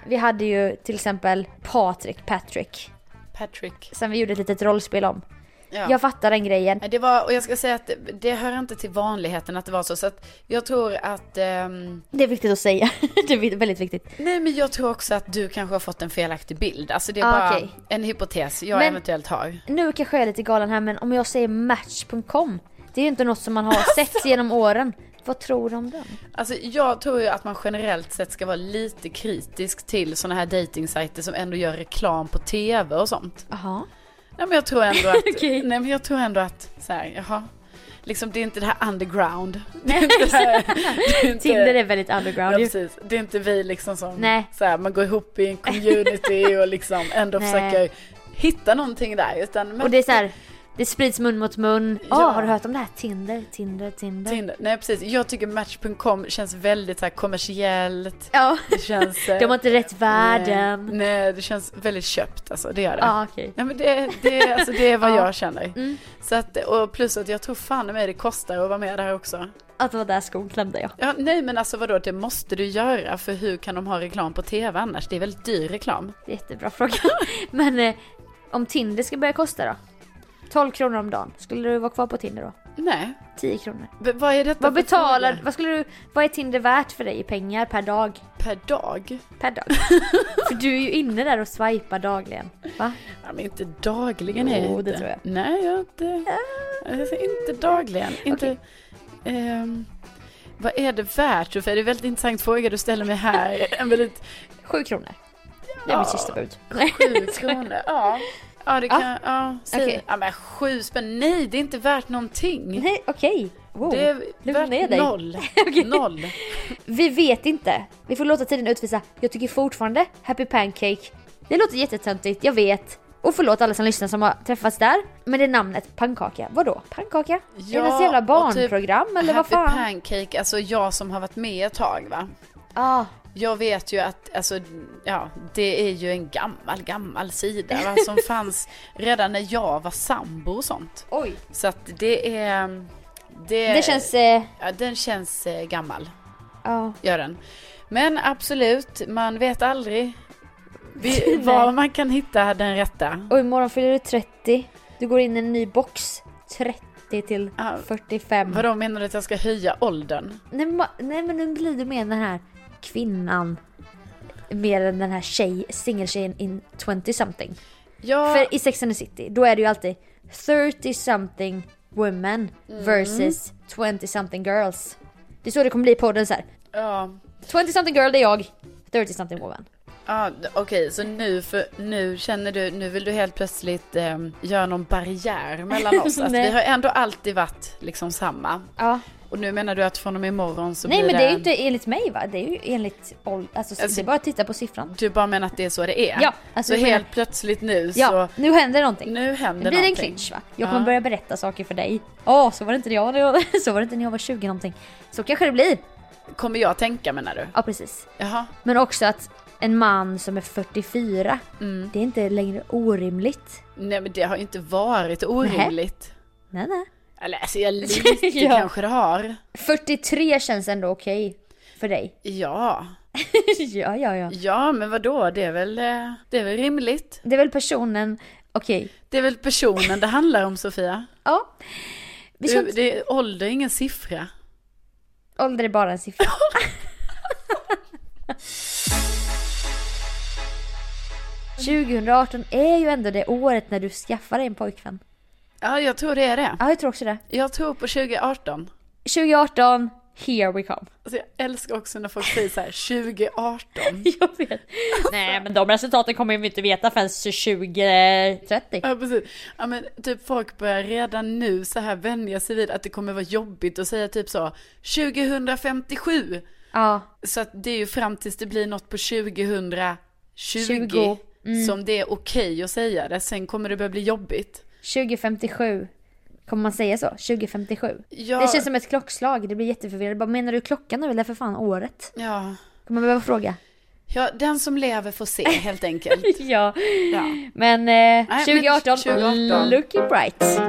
S2: Vi hade ju till exempel Patrik Patrick,
S1: Patrick.
S2: som vi gjorde ett litet rollspel om.
S1: Ja.
S2: Jag fattar den grejen.
S1: Nej, Det var, och jag ska säga att det- det hör inte till vanligheten att det var så. Så att jag tror att ehm,
S2: Det är viktigt att säga. [laughs] det är väldigt viktigt.
S1: Nej men jag tror också att du kanske har fått en felaktig bild. Alltså det är
S2: Ah,
S1: bara
S2: okej.
S1: en hypotes jag
S2: Men-
S1: eventuellt har.
S2: Nu kanske jag är lite galen här, men om jag säger Match.com, det är ju inte något som man [laughs] har sett genom åren. Vad tror du om den?
S1: Alltså jag tror ju att man generellt sett ska vara lite kritisk till sådana här datingsajter som ändå gör reklam på tv och sånt.
S2: Jaha.
S1: Nej men jag tror ändå att,
S2: [laughs] Okej.
S1: nej men jag tror ändå att så här, jaha. Liksom det är inte det här
S2: [laughs]
S1: underground. Det är inte det här, det är inte,
S2: Tinder är väldigt
S1: Eh, ja,
S2: underground ju.
S1: precis. Det är inte vi liksom som,
S2: Nej.
S1: så här, man går ihop i en community och liksom
S2: [laughs]
S1: ändå
S2: Nej.
S1: försöker hitta någonting där. Utan, men-
S2: Och det är så här, det sprids mun mot mun. Åh,
S1: Ja.
S2: har du hört om det här? Tinder, Tinder, Tinder.
S1: Tinder. Nej precis, jag tycker Match.com känns väldigt så här kommersiellt.
S2: Ja. [laughs]
S1: Det känns... eh,
S2: De har inte rätt värden.
S1: Nej, nej, det känns väldigt köpt alltså, det gör det.
S2: Ja, okej.
S1: Nej men det, det, alltså, det är
S2: [laughs]
S1: vad
S2: Ja. Mm.
S1: jag känner. Så att, och plus att jag tror fan i mig det kostar att vara med där också.
S2: Att vara där skon klämde jag.
S1: Ja, nej men alltså vadå, det måste du göra för hur kan de ha reklam på TV annars? Det är väldigt dyr reklam.
S2: Jättebra fråga. [laughs] Men eh, om Tinder ska börja kosta då? 12 kronor om dagen. Skulle du vara kvar på Tinder då?
S1: Nej,
S2: 10 kronor.
S1: B- vad är detta
S2: Vad
S1: för
S2: betalar,
S1: fråga?
S2: vad skulle du, vad är Tinder värt för dig i pengar per dag?
S1: Per dag?
S2: Per
S1: [laughs]
S2: dag? för du är ju inne där och swipar dagligen. Va?
S1: Ja, men inte dagligen är
S2: Jo,
S1: jag
S2: det
S1: inte.
S2: tror jag. Ah.
S1: Nej, jag är inte... Alltså, inte dagligen. Inte... ehm, vad är det värt? För det är en väldigt intressant fråga du ställer
S2: [laughs]
S1: mig här. En väldigt...
S2: 7 kronor. Det är mitt
S1: Ja.
S2: sista bud.
S1: Sju kronor. Ja. Ja, det kan... Ja, säg
S2: Okej.
S1: ja men sju spänn. Nej, det är inte värt någonting.
S2: Nej, okej. Wow.
S1: Det är
S2: Lugna ner
S1: värt
S2: dig. [laughs]
S1: noll. Noll.
S2: Vi vet inte. Vi får låta tiden utvisa. Jag tycker fortfarande Happy Pancake. Det låter jättetöntigt, jag vet. Och förlåt alla som lyssnar som har träffats där. Men det är namnet pannkaka. Vadå? Pannkaka? är det något jävla
S1: och typ
S2: barnprogram eller vad
S1: Happy
S2: fan?
S1: Pancake, alltså jag som har varit med ett tag va.
S2: ah,
S1: Jag vet ju att, alltså, ja, det är ju en gammal, gammal sida
S2: [laughs]
S1: va, som fanns redan när jag var sambo och sånt.
S2: oj.
S1: Så att det är... Det,
S2: Det känns... Eh,
S1: Ja, den känns eh, gammal,
S2: ja.
S1: gör den. Men absolut, man vet aldrig
S2: [laughs]
S1: Vi, var man kan hitta den rätta.
S2: Och imorgon fyller du 30. Du går in i en ny box. 30 till
S1: Ja.
S2: 45.
S1: Vadå menar du att jag ska höja åldern?
S2: Nej, men ma- nej men nu blir du mer den här kvinnan. Mer än den här tjej, singeltjejen in 20 something.
S1: Ja,
S2: För i Sex and the City, då är det ju alltid 30 something women
S1: Mm.
S2: versus 20 something girls. Det är så det kommer bli på den så här.
S1: ja,
S2: 20 something girl det är jag, 30 something woman.
S1: ja d- okej, så nu, för, nu känner du, nu vill du helt plötsligt eh, göra någon
S2: [laughs]
S1: barriär mellan oss. Att
S2: Nej.
S1: vi har ändå alltid varit liksom samma.
S2: Ja.
S1: Och nu menar du att från och med imorgon så
S2: Nej
S1: blir
S2: men det är ju inte enligt mig va? Det är ju enligt ålder, alltså,
S1: Alltså-
S2: det är bara att titta på siffran.
S1: Du bara menar att det är så det är?
S2: Ja, alltså
S1: så
S2: jag
S1: helt
S2: menar-
S1: plötsligt nu
S2: Ja,
S1: så,
S2: nu händer någonting.
S1: nu händer
S2: det blir en
S1: någonting.
S2: clinch va? Jag kommer
S1: Ja.
S2: börja berätta saker för dig. Åh, så var det inte när jag var, [laughs] så var, det inte när jag var 20 någonting. Så kanske det blir.
S1: Kommer jag tänka menar du?
S2: Ja precis.
S1: Jaha.
S2: Men också att en man som är 44,
S1: Mm.
S2: det är inte längre orimligt.
S1: Nej men det har ju inte varit orimligt.
S2: Nej nej.
S1: Eller
S2: [laughs]
S1: alltså jag lite
S2: Ja.
S1: kanske det har.
S2: 43 känns ändå okej. För dig.
S1: Ja.
S2: [laughs] ja, ja, ja.
S1: Ja men vadå, det är väl, eh, det är väl rimligt.
S2: Det är väl personen, okej.
S1: Det är väl personen det handlar om Sofia.
S2: Ja. Vi ska
S1: Du,
S2: inte...
S1: det, ålder är ingen siffra.
S2: Ålder är bara en
S1: [laughs]
S2: siffra. ...2018 är ju ändå det året när du skaffar dig en pojkvän.
S1: Ja jag tror det är det.
S2: Ja, jag tror också det.
S1: Jag tror på 2018.
S2: 2018, here we come.
S1: Alltså jag älskar också när folk säger så här [laughs] 2018.
S2: [laughs] Jag vet. Nej, men de resultaten kommer vi inte veta förrän 2030.
S1: Ja precis. Ja men typ folk börjar redan nu så här vänja sig vid att det kommer vara jobbigt att säga typ så 2057.
S2: Ja,
S1: Så att det är ju fram tills det blir något på 2020
S2: 20.
S1: som det är okej att säga det. Sen kommer det börja bli jobbigt.
S2: 2057. Kommer man säga så? 2057?
S1: Ja.
S2: Det känns som ett klockslag, det blir jätteförvirrande. Bara, menar du klockan nu eller för fan året?
S1: Ja.
S2: Kommer man behöva fråga?
S1: ja, den som lever får se helt enkelt.
S2: Ja.
S1: Ja.
S2: Men
S1: men
S2: eh, 2018,
S1: 2018.
S2: looking bright.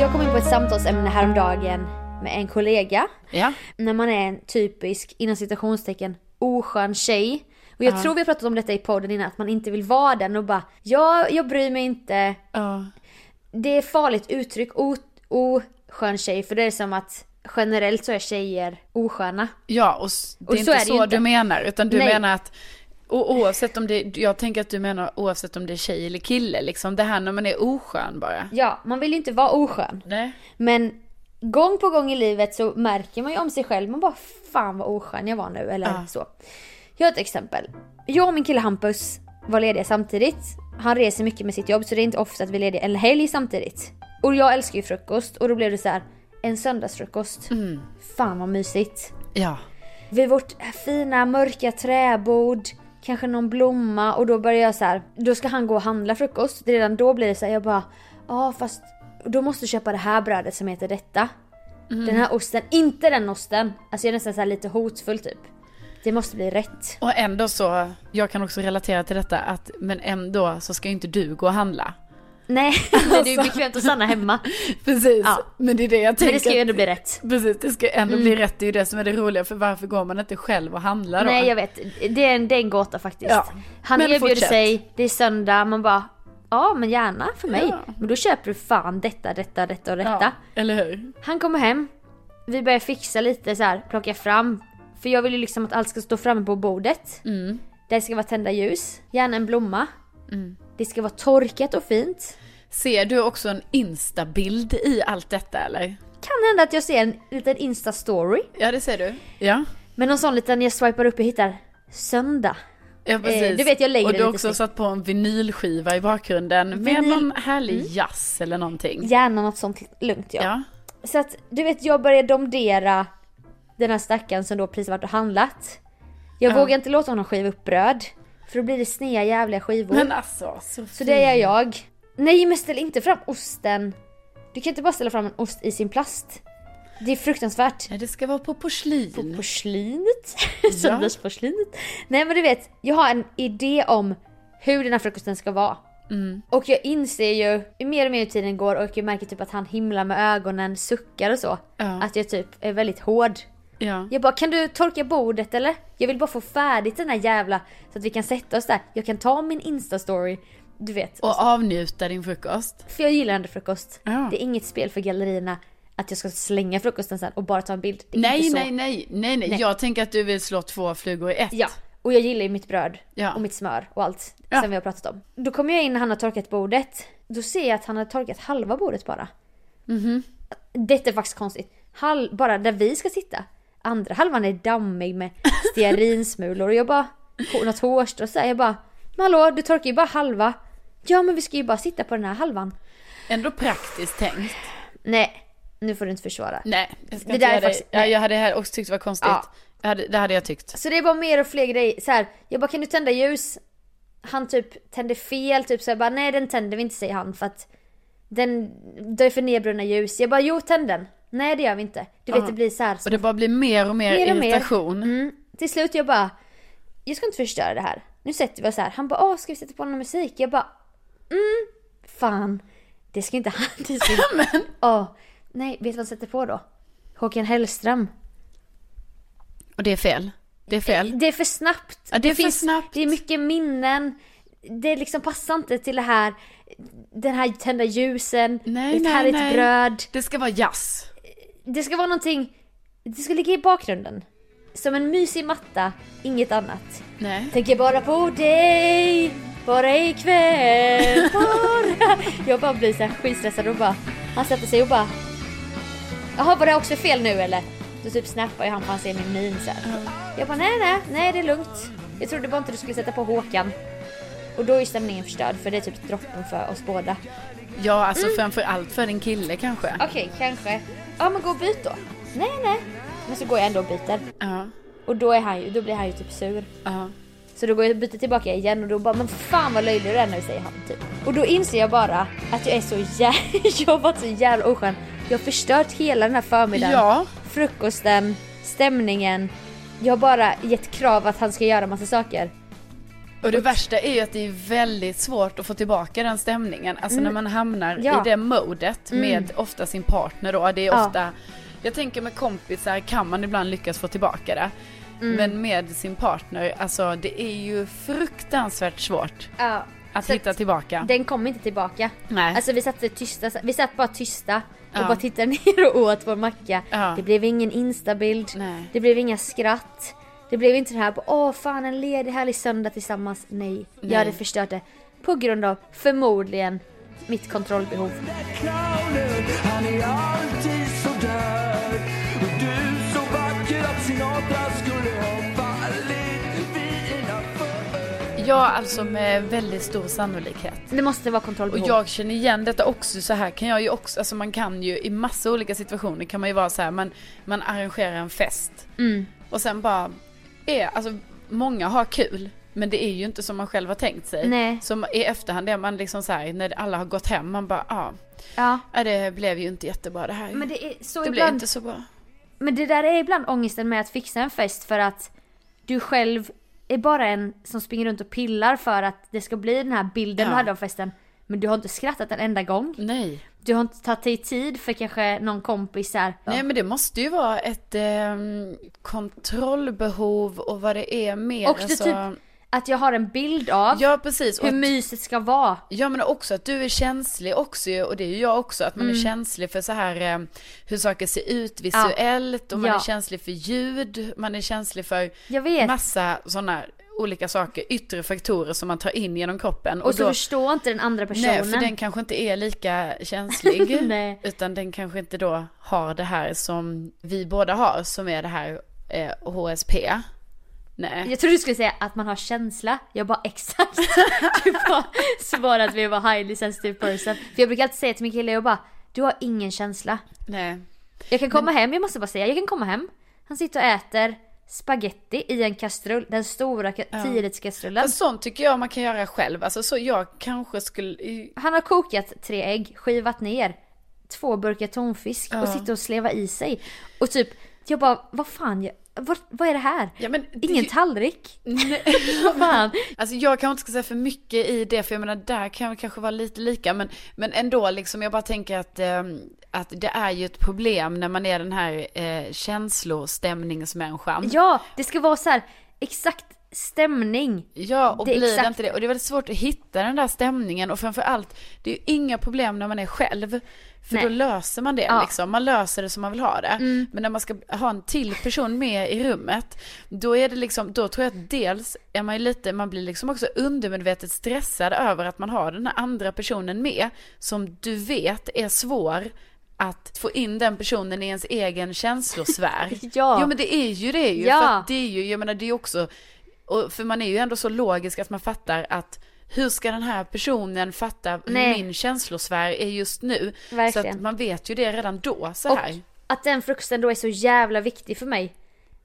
S2: Jag kom in på ett samtalsämne häromdagen med en kollega.
S1: Ja.
S2: När man är en typisk, inom citationstecken, oskön tjej. Och jag tror vi har pratat om detta i podden innan, att man inte vill vara den och bara ja, jag bryr mig inte.
S1: [laughs] Ja.
S2: Det är farligt uttryck, o- oskön tjej, för det är som att generellt så är tjejer osköna.
S1: Ja, och s- det är
S2: Och
S1: inte
S2: så
S1: så,
S2: är det ju inte.
S1: du menar, utan du
S2: Nej.
S1: menar att och oavsett om det, jag tänker att du menar oavsett om det är tjej eller kille, liksom det här när man är oskön bara.
S2: Ja, man vill ju inte vara oskön.
S1: Nej.
S2: Men gång på gång i livet så märker man ju om sig själv, man bara fan vad oskön jag var nu eller så. Jag har ett exempel. Jag och min kille Hampus var lediga samtidigt. Han reser mycket med sitt jobb så det är inte ofta att vi är lediga en helg samtidigt. Och jag älskar ju frukost och då blev det så här en söndagsfrukost. Fan vad mysigt.
S1: Ja.
S2: Vid vårt fina mörka träbord, kanske någon blomma och då börjar jag så här. då ska han gå och handla frukost. Redan då blir det så här, jag bara, ja fast då måste du köpa det här brödet som heter detta. Den här osten, inte den osten. Alltså jag är nästan så här lite hotfull typ. Det måste bli rätt.
S1: Och ändå så, jag kan också relatera till detta att, men ändå så ska ju inte du gå och handla. [laughs]
S2: Nej, alltså. men [laughs] det är ju bekvämt att stanna hemma. [laughs]
S1: Precis,
S2: Ja.
S1: men det är det jag
S2: Men
S1: tänker.
S2: det ska ju Mm. ändå bli rätt.
S1: Precis, det ska ändå bli rätt, det är ju det som är det roliga, för varför går man inte själv och handlar då?
S2: Nej jag vet, det är en, det är en gåta faktiskt.
S1: Ja.
S2: Han
S1: Men
S2: erbjuder
S1: fortsätt.
S2: sig, det är söndag, man bara Ja men gärna för mig.
S1: Ja.
S2: Men då köper du fan detta, detta, detta och detta.
S1: Ja, eller hur?
S2: Han kommer hem. Vi börjar fixa lite så här, plocka fram. För jag vill ju liksom att allt ska stå framme på bordet. Det ska vara tända ljus, gärna en blomma. Det ska vara torkat och fint.
S1: Ser du också en instabild i allt detta eller?
S2: Kan hända att jag ser en liten Insta-story.
S1: Ja, det ser du. Ja.
S2: Men någon sån liten jag swipar upp och hittar söndag.
S1: Ja precis.
S2: Eh, du vet, jag lägger
S1: Och
S2: det
S1: du har
S2: lite
S1: också
S2: snyggt.
S1: satt på en vinylskiva i bakgrunden med
S2: Vinyl. Mm.
S1: någon härlig jazz eller någonting.
S2: Gärna något sånt lugnt ja.
S1: Ja.
S2: Så att du vet jag börjar domdera den här stackaren som då precis varit och handlat. Jag vågar inte låta honom skiva upp bröd. För då blir det snea jävliga skivor.
S1: Men alltså, så,
S2: Oh. Så det gör jag. Nej men ställ inte fram osten. Du kan inte bara ställa fram en ost i sin plast. Det är fruktansvärt.
S1: Ja, det ska vara på porslin.
S2: På porslinet. [laughs] Söndagsporslinet. Nej men du vet, jag har en idé om hur den här frukosten ska vara.
S1: Mm.
S2: Och jag inser ju, ju mer och mer tiden går och jag märker typ att han himlar med ögonen, suckar och så. Att jag typ är väldigt hård.
S1: Ja.
S2: Jag bara, kan du torka bordet eller? Jag vill bara få färdigt den här jävla, så att vi kan sätta oss där. Jag kan ta min instastory. Du vet.
S1: Och avnjuta din frukost.
S2: För jag gillar ändå frukost.
S1: Ja.
S2: Det är inget spel för gallerierna att jag ska slänga frukosten sen och bara ta en bild. Det är
S1: Nej,
S2: inte så.
S1: nej, nej, nej, nej. Jag tänker att du vill slå två flugor i ett.
S2: Ja, och jag gillar ju mitt bröd
S1: Ja.
S2: och mitt smör och allt
S1: Ja.
S2: som vi har pratat om. Då kommer jag in när han har torkat bordet. Då ser jag att han har torkat halva bordet bara.
S1: Mhm.
S2: mm Detta är faktiskt konstigt. Halv, bara där vi ska sitta. Andra halvan är dammig med stearinsmulor och jag bara, hår- något hårstrå och så här, jag bara, men hallå du torkar ju bara halva. Ja men vi ska ju bara sitta på den här halvan.
S1: Ändå praktiskt tänkt.
S2: Nej, nu får du inte försvara.
S1: Nej, jag ska
S2: Det
S1: inte
S2: där
S1: göra
S2: är
S1: det.
S2: faktiskt-
S1: Ja, jag hade här också tyckt det var konstigt.
S2: Ja.
S1: Jag hade, det hade jag tyckt.
S2: Så det är bara mer och fler grejer. Så här, jag bara kan du tända ljus? Han typ tände fel, typ så jag bara nej den tänder vi inte säger han för att den, det är för nedbrunna ljus. Jag bara jo tänd den. Nej det gör vi inte. Du vet det blir så här.
S1: Och det bara blir mer och mer,
S2: Mer och mer.
S1: irritation.
S2: Mm. Till slut jag bara jag ska inte förstöra det här. Nu sätter vi oss här. Han bara åh ska vi sätta på någon musik? Jag bara mm fan det ska inte han. [laughs] Det ska inte. Åh nej vet du vad han sätter på då? Håkan Hellström.
S1: Och det är fel. Det är fel.
S2: Det är för snabbt.
S1: Ja, det är för snabbt.
S2: Det är mycket minnen. Det liksom passar inte till det här, den här tända ljusen,
S1: Nej,
S2: ett
S1: nej,
S2: härligt
S1: nej.
S2: bröd.
S1: Det ska vara jazz.
S2: Det ska vara någonting, det ska ligga i bakgrunden. Som en mysig matta, inget annat.
S1: Nej.
S2: Tänker bara på dig, bara ikväll, bara. Jag bara blir så här skitstressad och bara, han sätter sig och bara. Jaha var det också fel nu eller? Då typ snappar jag han för han ser min min så här. Jag bara nej nej, nej det är lugnt. Jag trodde bara inte du skulle sätta på Håkan. Och då är stämningen förstörd för det är typ droppen för oss båda.
S1: Ja, alltså
S2: Mm.
S1: framför allt för en kille kanske.
S2: Okej kanske. Ja men gå och byt då. Nej nej. Men så går jag ändå och byter.
S1: Ja,
S2: Och då, är han ju, då blir han ju typ sur.
S1: ja.
S2: Så då går jag och byter tillbaka igen och då bara men fan vad löjlig du är nu säger han typ. Och då inser jag bara att jag är så jävla, [laughs] jag har varit så jävla oskön. Jag har förstört hela den här förmiddagen.
S1: Ja.
S2: Frukosten, stämningen. Jag har bara gett krav att han ska göra massa saker.
S1: Och det värsta är ju att det är väldigt svårt att få tillbaka den stämningen. Alltså när man hamnar
S2: Mm. Ja. Mm.
S1: i det modet med ofta sin partner då. Det är
S2: Ja.
S1: ofta, jag tänker med kompisar kan man ibland lyckas få tillbaka det.
S2: Mm.
S1: Men med sin partner, alltså det är ju fruktansvärt svårt
S2: Ja.
S1: att
S2: Så
S1: hitta tillbaka.
S2: Den kom inte tillbaka.
S1: Nej.
S2: Alltså vi satt tysta, vi satt bara tysta och
S1: Ja.
S2: bara tittade [laughs] ner och åt vår macka.
S1: Ja.
S2: Det blev ingen instabild.
S1: Nej.
S2: Det blev inga skratt. Det blev inte det här på åh fan en ledig härlig söndag tillsammans. Nej, jag hade förstört det. På grund av förmodligen mitt kontrollbehov.
S3: clownen Han är alltid sådär Och du så vacker att Sinatra skulle ha fallit vid dina fötter
S1: Ja, alltså med väldigt stor sannolikhet.
S2: Det måste vara
S1: Och
S2: kontrollbehov.
S1: jag känner igen detta också, så här kan jag ju också, alltså man kan ju i massa olika situationer kan man ju vara så här, man, man arrangerar en fest.
S2: Mm.
S1: Och sen bara, är, alltså många har kul. Men det är ju inte som man själv har tänkt sig.
S2: Nej.
S1: Som i efterhand är man liksom så här, när alla har gått hem, man bara, ja,
S2: Ja.
S1: ah, det blev ju inte jättebra det här.
S2: Men det är så
S1: det blev
S2: ibland.
S1: inte så bra.
S2: Men det där är ibland ångesten med att fixa en fest för att du själv är bara en som springer runt och pillar för att det ska bli den här bilden du
S1: Ja.
S2: hade av festen. Men du har inte skrattat en enda gång.
S1: Nej.
S2: Du har inte tagit dig tid för kanske någon kompis här.
S1: Nej men det måste ju vara ett ehm, kontrollbehov och vad det är mer.
S2: och det är
S1: alltså-
S2: typ att jag har en bild av
S1: Ja precis. Och
S2: hur
S1: att-
S2: myset ska vara.
S1: Ja men också att du är känslig också ju, och det är ju jag också, att man
S2: Mm.
S1: är känslig för så här eh, hur saker ser ut visuellt och man
S2: Ja.
S1: är känslig för ljud, man är känslig för
S2: Jag vet.
S1: massa sådana olika saker, yttre faktorer som man tar in genom kroppen.
S2: Och, så förstår inte den andra personen.
S1: Nej, för den kanske inte är lika känslig.
S2: [laughs] Nej.
S1: utan den kanske inte då har det här som vi båda har, som är det här eh, HSP. Nej.
S2: Jag trodde du skulle säga att man har känsla. Jag bara exakt. [laughs] Du bara svarade att vi var highly sensitive person. För jag brukar alltid säga till min kille, jag bara du har ingen känsla.
S1: Nej.
S2: Jag kan komma hem, jag måste bara säga, jag kan komma hem. Han sitter och äter spaghetti i en kastrull, den stora ka- 10-litskastrullen.
S1: Men sånt tycker jag man kan göra själv. Alltså så jag kanske skulle,
S2: Han har kokat tre ägg, skivat ner två burkar tonfisk och sitter och slevar i sig. Och typ, jag bara, vad fan, jag, vad, vad är det här?
S1: Ja, men det-
S2: Ingen tallrik? [laughs] vad fan?
S1: Alltså jag kanske inte ska säga för mycket i det, för jag menar där kan jag väl kanske vara lite lika, men, men ändå liksom, jag bara tänker att, eh, att det är ju ett problem när man är den här eh, känslostämningsmänniskan.
S2: Ja, det ska vara så här exakt stämning.
S1: Ja, och
S2: Det är
S1: blir det
S2: exakt-
S1: inte det. Och det är väldigt svårt att hitta den där stämningen. Och framförallt, det är ju inga problem när man är själv. För
S2: Nej.
S1: då löser man det
S2: Ja. Mm.
S1: liksom. Man löser det som man vill ha det. Men när man ska ha en till person med i rummet, då är det liksom, då tror jag att dels är man ju lite, man blir liksom också undermedvetet stressad över att man har den här andra personen med. Som du vet är svår att få in den personen i ens egen känslosfär.
S2: [laughs] Ja.
S1: Jo men det är ju det ju.
S2: Ja.
S1: För att det är ju, jag menar det är ju också, och för man är ju ändå så logisk att man fattar att hur ska den här personen fatta hur
S2: Nej.
S1: min känslosfär är just nu? Så
S2: Verkligen.
S1: att man vet ju det redan då så
S2: Och
S1: här.
S2: att den frukosten då är så jävla viktig för mig.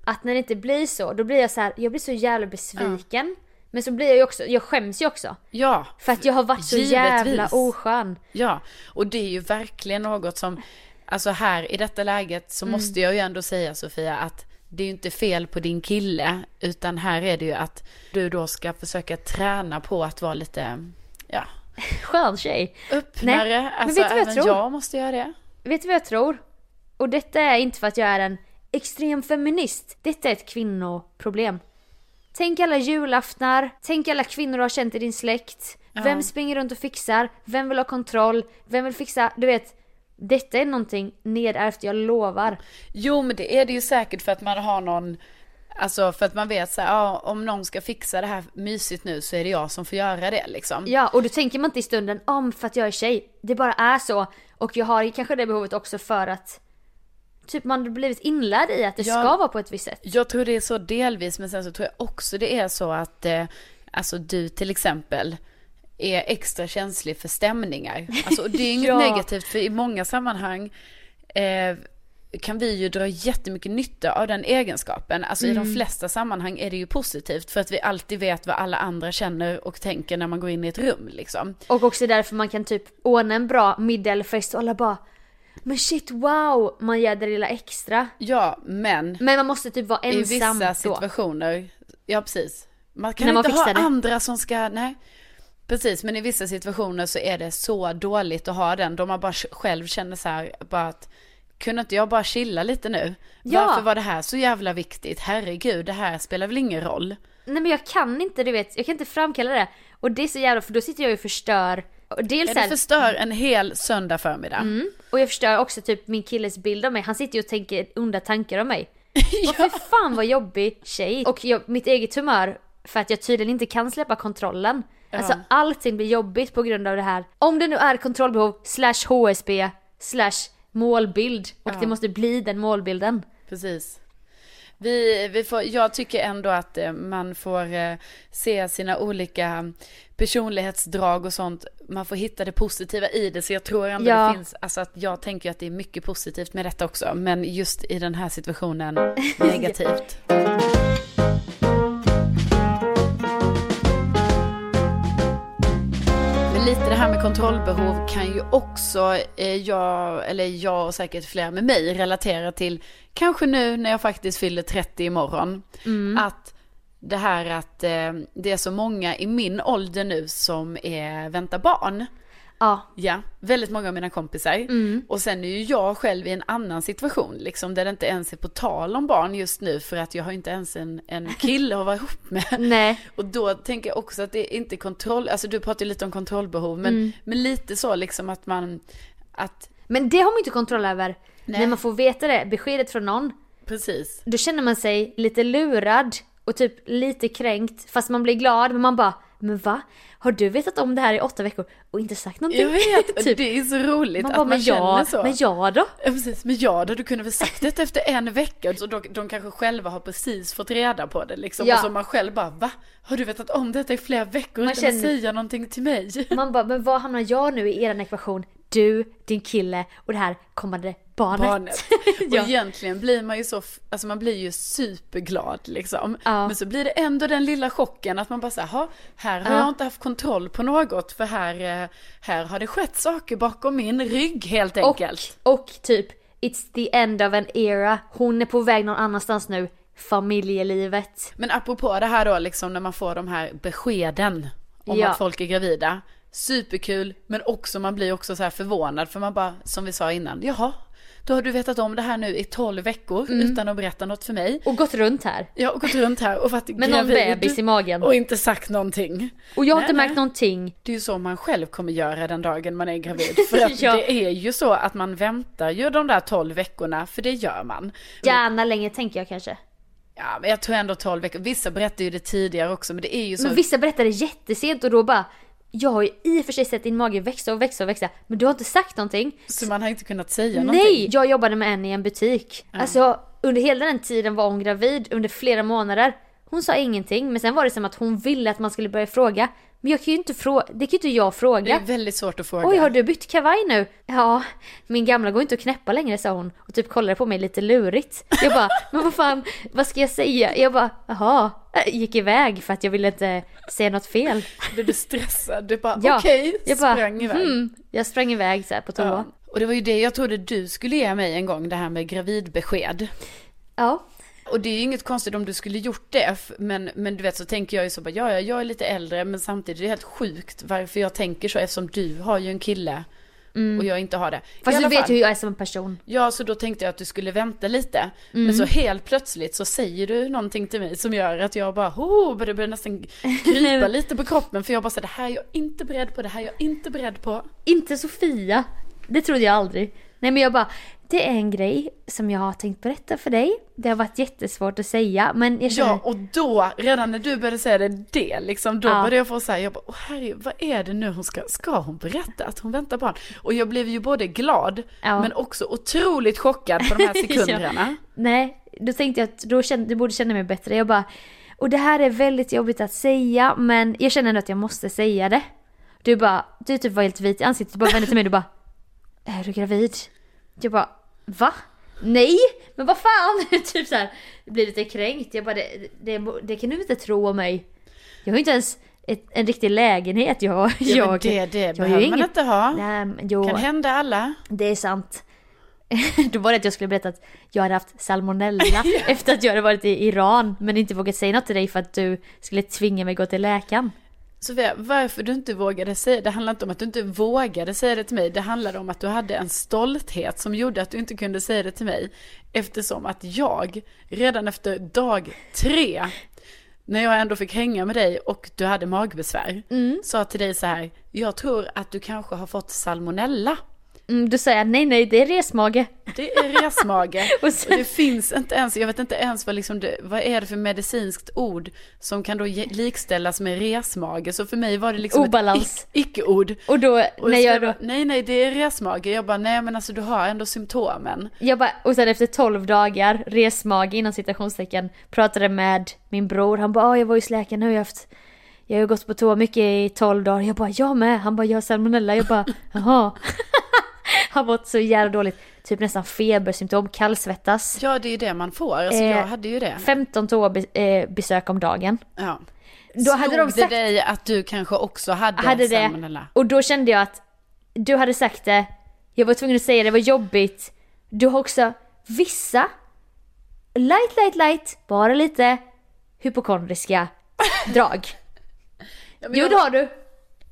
S2: Att när det inte blir så, då blir jag så här, jag blir så jävla besviken. Men så blir jag ju också, jag skäms ju också.
S1: ja.
S2: För att jag har varit så
S1: Givetvis.
S2: jävla oskön.
S1: Ja, och det är ju verkligen något som, alltså här i detta läget
S2: Mm.
S1: så måste jag ju ändå säga Sofia att det är ju inte fel på din kille, utan här är det ju att du då ska försöka träna på att vara lite, ja,
S2: Skön tjej.
S1: öppnare.
S2: Nej, men
S1: alltså
S2: vet du vad jag
S1: även
S2: tror?
S1: jag måste göra det.
S2: Vet du vad jag tror? Och detta är inte för att jag är en extrem feminist. Detta är ett kvinnoproblem. Tänk alla julaftnar, tänk alla kvinnor du har känt i din släkt. Vem springer runt och fixar? Vem vill ha kontroll? Vem vill fixa? Du vet, detta är någonting nedärvt, jag lovar.
S1: Jo men det är det ju säkert för att man har någon, alltså för att man vet så här, ja, om någon ska fixa det här mysigt nu så är det jag som får göra det liksom.
S2: Ja, och då tänker man inte i stunden om för att jag är tjej. Det bara är så. Och jag har kanske det behovet också för att typ man har blivit inlärd i att det
S1: Ja.
S2: ska vara på ett visst sätt.
S1: Jag tror det är så delvis, men sen så tror jag också det är så att eh, alltså du till exempel är extra känslig för stämningar. Alltså, och
S2: [laughs]
S1: det är inget
S2: Ja.
S1: negativt, för i många sammanhang eh, kan vi ju dra jättemycket nytta av den egenskapen. Alltså
S2: Mm.
S1: i de flesta sammanhang är det ju positivt för att vi alltid vet vad alla andra känner och tänker när man går in i ett rum liksom.
S2: Och också därför man kan typ ordna en bra middag eller fest och alla bara Men shit wow! Man gör det lilla extra.
S1: Ja, men
S2: Men man måste typ vara
S1: i
S2: ensam
S1: vissa
S2: då.
S1: situationer, ja precis. Man kan
S2: När man
S1: inte ha
S2: fixar det.
S1: andra som ska, nej. Precis, men i vissa situationer så är det så dåligt att ha den. Då man bara själv känner så här, bara att kunde inte jag bara chilla lite nu?
S2: Ja.
S1: Varför var det här så jävla viktigt? Herregud, det här spelar väl ingen roll?
S2: Nej men jag kan inte du vet, jag kan inte framkalla det. Och det är så jävla för då sitter jag ju och förstör. Och Dels
S1: Ja,
S2: så här,
S1: det förstör en hel söndag förmiddag.
S2: och jag förstör också typ min killes bild av mig. Han sitter ju och tänker onda tankar om mig. Och för fan vad jobbig tjej. Och jag, mitt eget humör för att jag tydligen inte kan släppa kontrollen. Alltså allting blir jobbigt på grund av det här. Om det nu är kontrollbehov slash HSB slash målbild och det måste bli den målbilden.
S1: Precis. Vi, vi får, jag tycker ändå att eh, man får eh, se sina olika personlighetsdrag och sånt. Man får hitta det positiva i det. Så jag tror ändå
S2: Ja.
S1: det finns, alltså att jag tänker att det är mycket positivt med detta också. Men just i den här situationen negativt. Men lite det här med kontrollbehov kan ju också eh, jag, eller jag och säkert flera med mig relatera till, kanske nu när jag faktiskt fyller 30 imorgon, att det här att eh, det är så många i min ålder nu som är, väntar barn.
S2: Ja,
S1: Ja, väldigt många av mina kompisar.
S2: Mm.
S1: Och sen är ju jag själv i en annan situation, liksom, där det inte ens är på tal om barn just nu för att jag har inte ens en, en kille att vara ihop med.
S2: [laughs] Nej.
S1: Och då tänker jag också att det är inte kontroll, alltså du pratar ju lite om kontrollbehov, men,
S2: Mm.
S1: men lite så liksom att man, att
S2: men det har man ju inte kontroll över.
S1: Nej.
S2: När man får veta det, beskedet från någon,
S1: precis.
S2: då känner man sig lite lurad och typ lite kränkt fast man blir glad men man bara men va? Har du vetat om det här i åtta veckor och inte sagt någonting?
S1: Jag [laughs] vet,
S2: [laughs] typ.
S1: det är så roligt
S2: Man
S1: att
S2: bara,
S1: man
S2: men
S1: känner
S2: jag,
S1: så.
S2: men jag då?
S1: Ja, precis. Men ja, då du kunde väl sagt det efter en vecka. Så de, de kanske själva har precis fått reda på det liksom.
S2: Ja.
S1: Och så man själv bara, va? Har du vetat om detta i flera veckor
S2: Man
S1: utan att
S2: känner-
S1: säga någonting
S2: [laughs]
S1: till mig?
S2: Man bara, men var hamnar jag nu i eran ekvation? Du, din kille och det här kommande barnet.
S1: Barnet.
S2: [laughs] ja.
S1: Och egentligen blir man ju så, f- alltså man blir ju superglad liksom.
S2: Ja.
S1: Men så blir det ändå den lilla chocken att man bara såhär, "Ha, här har
S2: Ja.
S1: jag inte haft kontroll på något för här, eh, här har det skett saker bakom min rygg helt
S2: och,
S1: enkelt.
S2: och typ, it's the end of an era. Hon är på väg någon annanstans nu. Familjelivet.
S1: Men apropå det här då, liksom när man får de här beskeden om
S2: Ja.
S1: att folk är gravida. superkul, men också man blir också så här förvånad för man bara, som vi sa innan, jaha, då har du vetat om det här nu i 12 veckor
S2: Mm.
S1: utan att berätta något för mig.
S2: Och gått runt här.
S1: Jag har gått runt här
S2: [laughs]
S1: och varit
S2: Med någon bebis i magen.
S1: Och inte sagt någonting.
S2: Och jag har
S1: Nej,
S2: inte märkt
S1: nej.
S2: någonting.
S1: Det är ju så man själv kommer göra den dagen man
S2: [laughs]
S1: är gravid. För att
S2: Ja.
S1: det är ju så att man väntar ju de där 12 veckorna, för det gör man.
S2: Gärna länge tänker jag kanske.
S1: Ja, men jag tror ändå 12 veckor. Vissa berättar ju det tidigare också, men det är ju så.
S2: Men vissa berättar det jättesent och då bara jag har ju i och för sig sett din mage växa och växa och växa men du har inte sagt någonting.
S1: Så man har inte kunnat
S2: Nej!
S1: säga någonting.
S2: Jag jobbade med en i en butik. Alltså under hela den tiden var hon gravid under flera månader. Hon sa ingenting men sen var det som att hon ville att man skulle börja fråga. Men jag kan ju inte fråga, det kan ju inte jag
S1: Det är
S2: fråga.
S1: väldigt svårt att fråga.
S2: Oj har du bytt kavaj nu? Ja, min gamla går inte att knäppa längre sa hon och typ kollade på mig lite lurigt. Jag bara, [laughs] men vad fan, vad ska jag säga? Jag bara, jaha, Äh, gick iväg för att jag ville inte säga något fel.
S1: Blev du [laughs] stressad? Du bara,
S2: Ja,
S1: okej,
S2: jag bara,
S1: sprang iväg.
S2: hmm, jag sprang iväg så här på toa.
S1: Ja.
S2: Ja.
S1: Och det var ju det jag trodde du skulle ge mig en gång, det här med gravidbesked. Och det är ju inget konstigt om du skulle gjort det, f- men, men du vet så tänker jag ju så bara, ja, ja, jag är lite äldre, men samtidigt är det helt sjukt varför jag tänker så, eftersom du har ju en kille och jag inte har det. I
S2: Mm. Fast du
S1: alla
S2: vet
S1: fall.
S2: ju hur jag är som person.
S1: Ja, så då tänkte jag att du skulle vänta lite.
S2: Mm.
S1: Men så helt plötsligt så säger du någonting till mig som gör att jag bara, oh, börjar börjar nästan
S2: [laughs]
S1: krypa lite på kroppen. För jag bara, så, här, det här är jag inte beredd på, det här är jag inte beredd på.
S2: Inte Sofia. Det trodde jag aldrig. Nej men jag bara, det är en grej som jag har tänkt berätta för dig. Det har varit jättesvårt att säga men jag känner...
S1: Ja, och då, redan när du började säga det, det liksom, då
S2: Ja.
S1: började jag få så här, jag bara, åh herregud, vad är det nu hon ska, ska hon berätta att hon väntar barn? Och jag blev ju både glad,
S2: Ja.
S1: men också otroligt chockad
S2: [laughs]
S1: på de här sekunderna.
S2: Ja. Nej, då tänkte jag att då kände, du borde känna mig bättre. Jag bara, och det här är väldigt jobbigt att säga men jag känner ändå att jag måste säga det. Du bara, du typ var helt vit i ansiktet, du bara vände till mig och du bara, är du gravid? Jag bara, va? Nej, men vad fan! [laughs] typ så här, jag blir lite kränkt. Jag bara, det, det, det kan du inte tro om mig. Jag har ju inte ens ett, en riktig lägenhet. Jag,
S1: Ja, men
S2: jag,
S1: det, det
S2: jag har ju
S1: behöver man
S2: inget-
S1: inte ha.
S2: Nej, men jo.
S1: Kan hända alla.
S2: Det är sant. [laughs] Då var det att jag skulle berätta att jag hade haft salmonella efter att jag hade varit i Iran men inte vågat säga något till dig för att du skulle tvinga mig gå till läkaren.
S1: Sofia, varför du inte vågade säga det handlar inte om att du inte vågade säga det till mig. Det handlade om att du hade en stolthet som gjorde att du inte kunde säga det till mig. Eftersom att jag, redan efter dag tre, när jag ändå fick hänga med dig och du hade magbesvär, sa till dig så här, jag tror att du kanske har fått salmonella.
S2: Mm, då sa jag nej nej det är resmage.
S1: Det är resmage.
S2: [laughs] Och
S1: och
S2: sen-
S1: det finns inte ens, jag vet inte ens vad, liksom det, vad är det för medicinskt ord som kan då ge- likställas med resmage. Så för mig var det liksom
S2: Obalans.
S1: ett ic- icke-ord.
S2: Och då
S1: Och
S2: när
S1: så
S2: jag då,
S1: bara, Nej nej det är resmage. Jag bara nej men alltså du har ändå symptomen.
S2: jag bara, och sen efter 12 dagar resmage inom citationstecken pratade med min bror. Han bara "Ah, jag var ju hos läkaren nu jag har haft jag har ju gått på toa mycket i 12 dagar. Jag bara jag med. Han bara jag har salmonella. Jag bara jaha. [laughs] Har mått så jävla dåligt. Typ nästan febersymptom, kallsvettas.
S1: Ja det är ju det man får. Alltså
S2: Eh,
S1: jag hade ju det.
S2: 15 toabesök eh, om dagen.
S1: Ja.
S2: Då hade de
S1: Slog
S2: sagt
S1: det dig att du kanske också hade,
S2: hade det.
S1: salmonella?
S2: Och då kände jag att du hade sagt det, jag var tvungen att säga det, det var jobbigt. Du har också vissa, light, light, light, bara lite
S1: [laughs]
S2: hypokondriska drag.
S1: Ja, men
S2: Jo
S1: jag-
S2: det har du.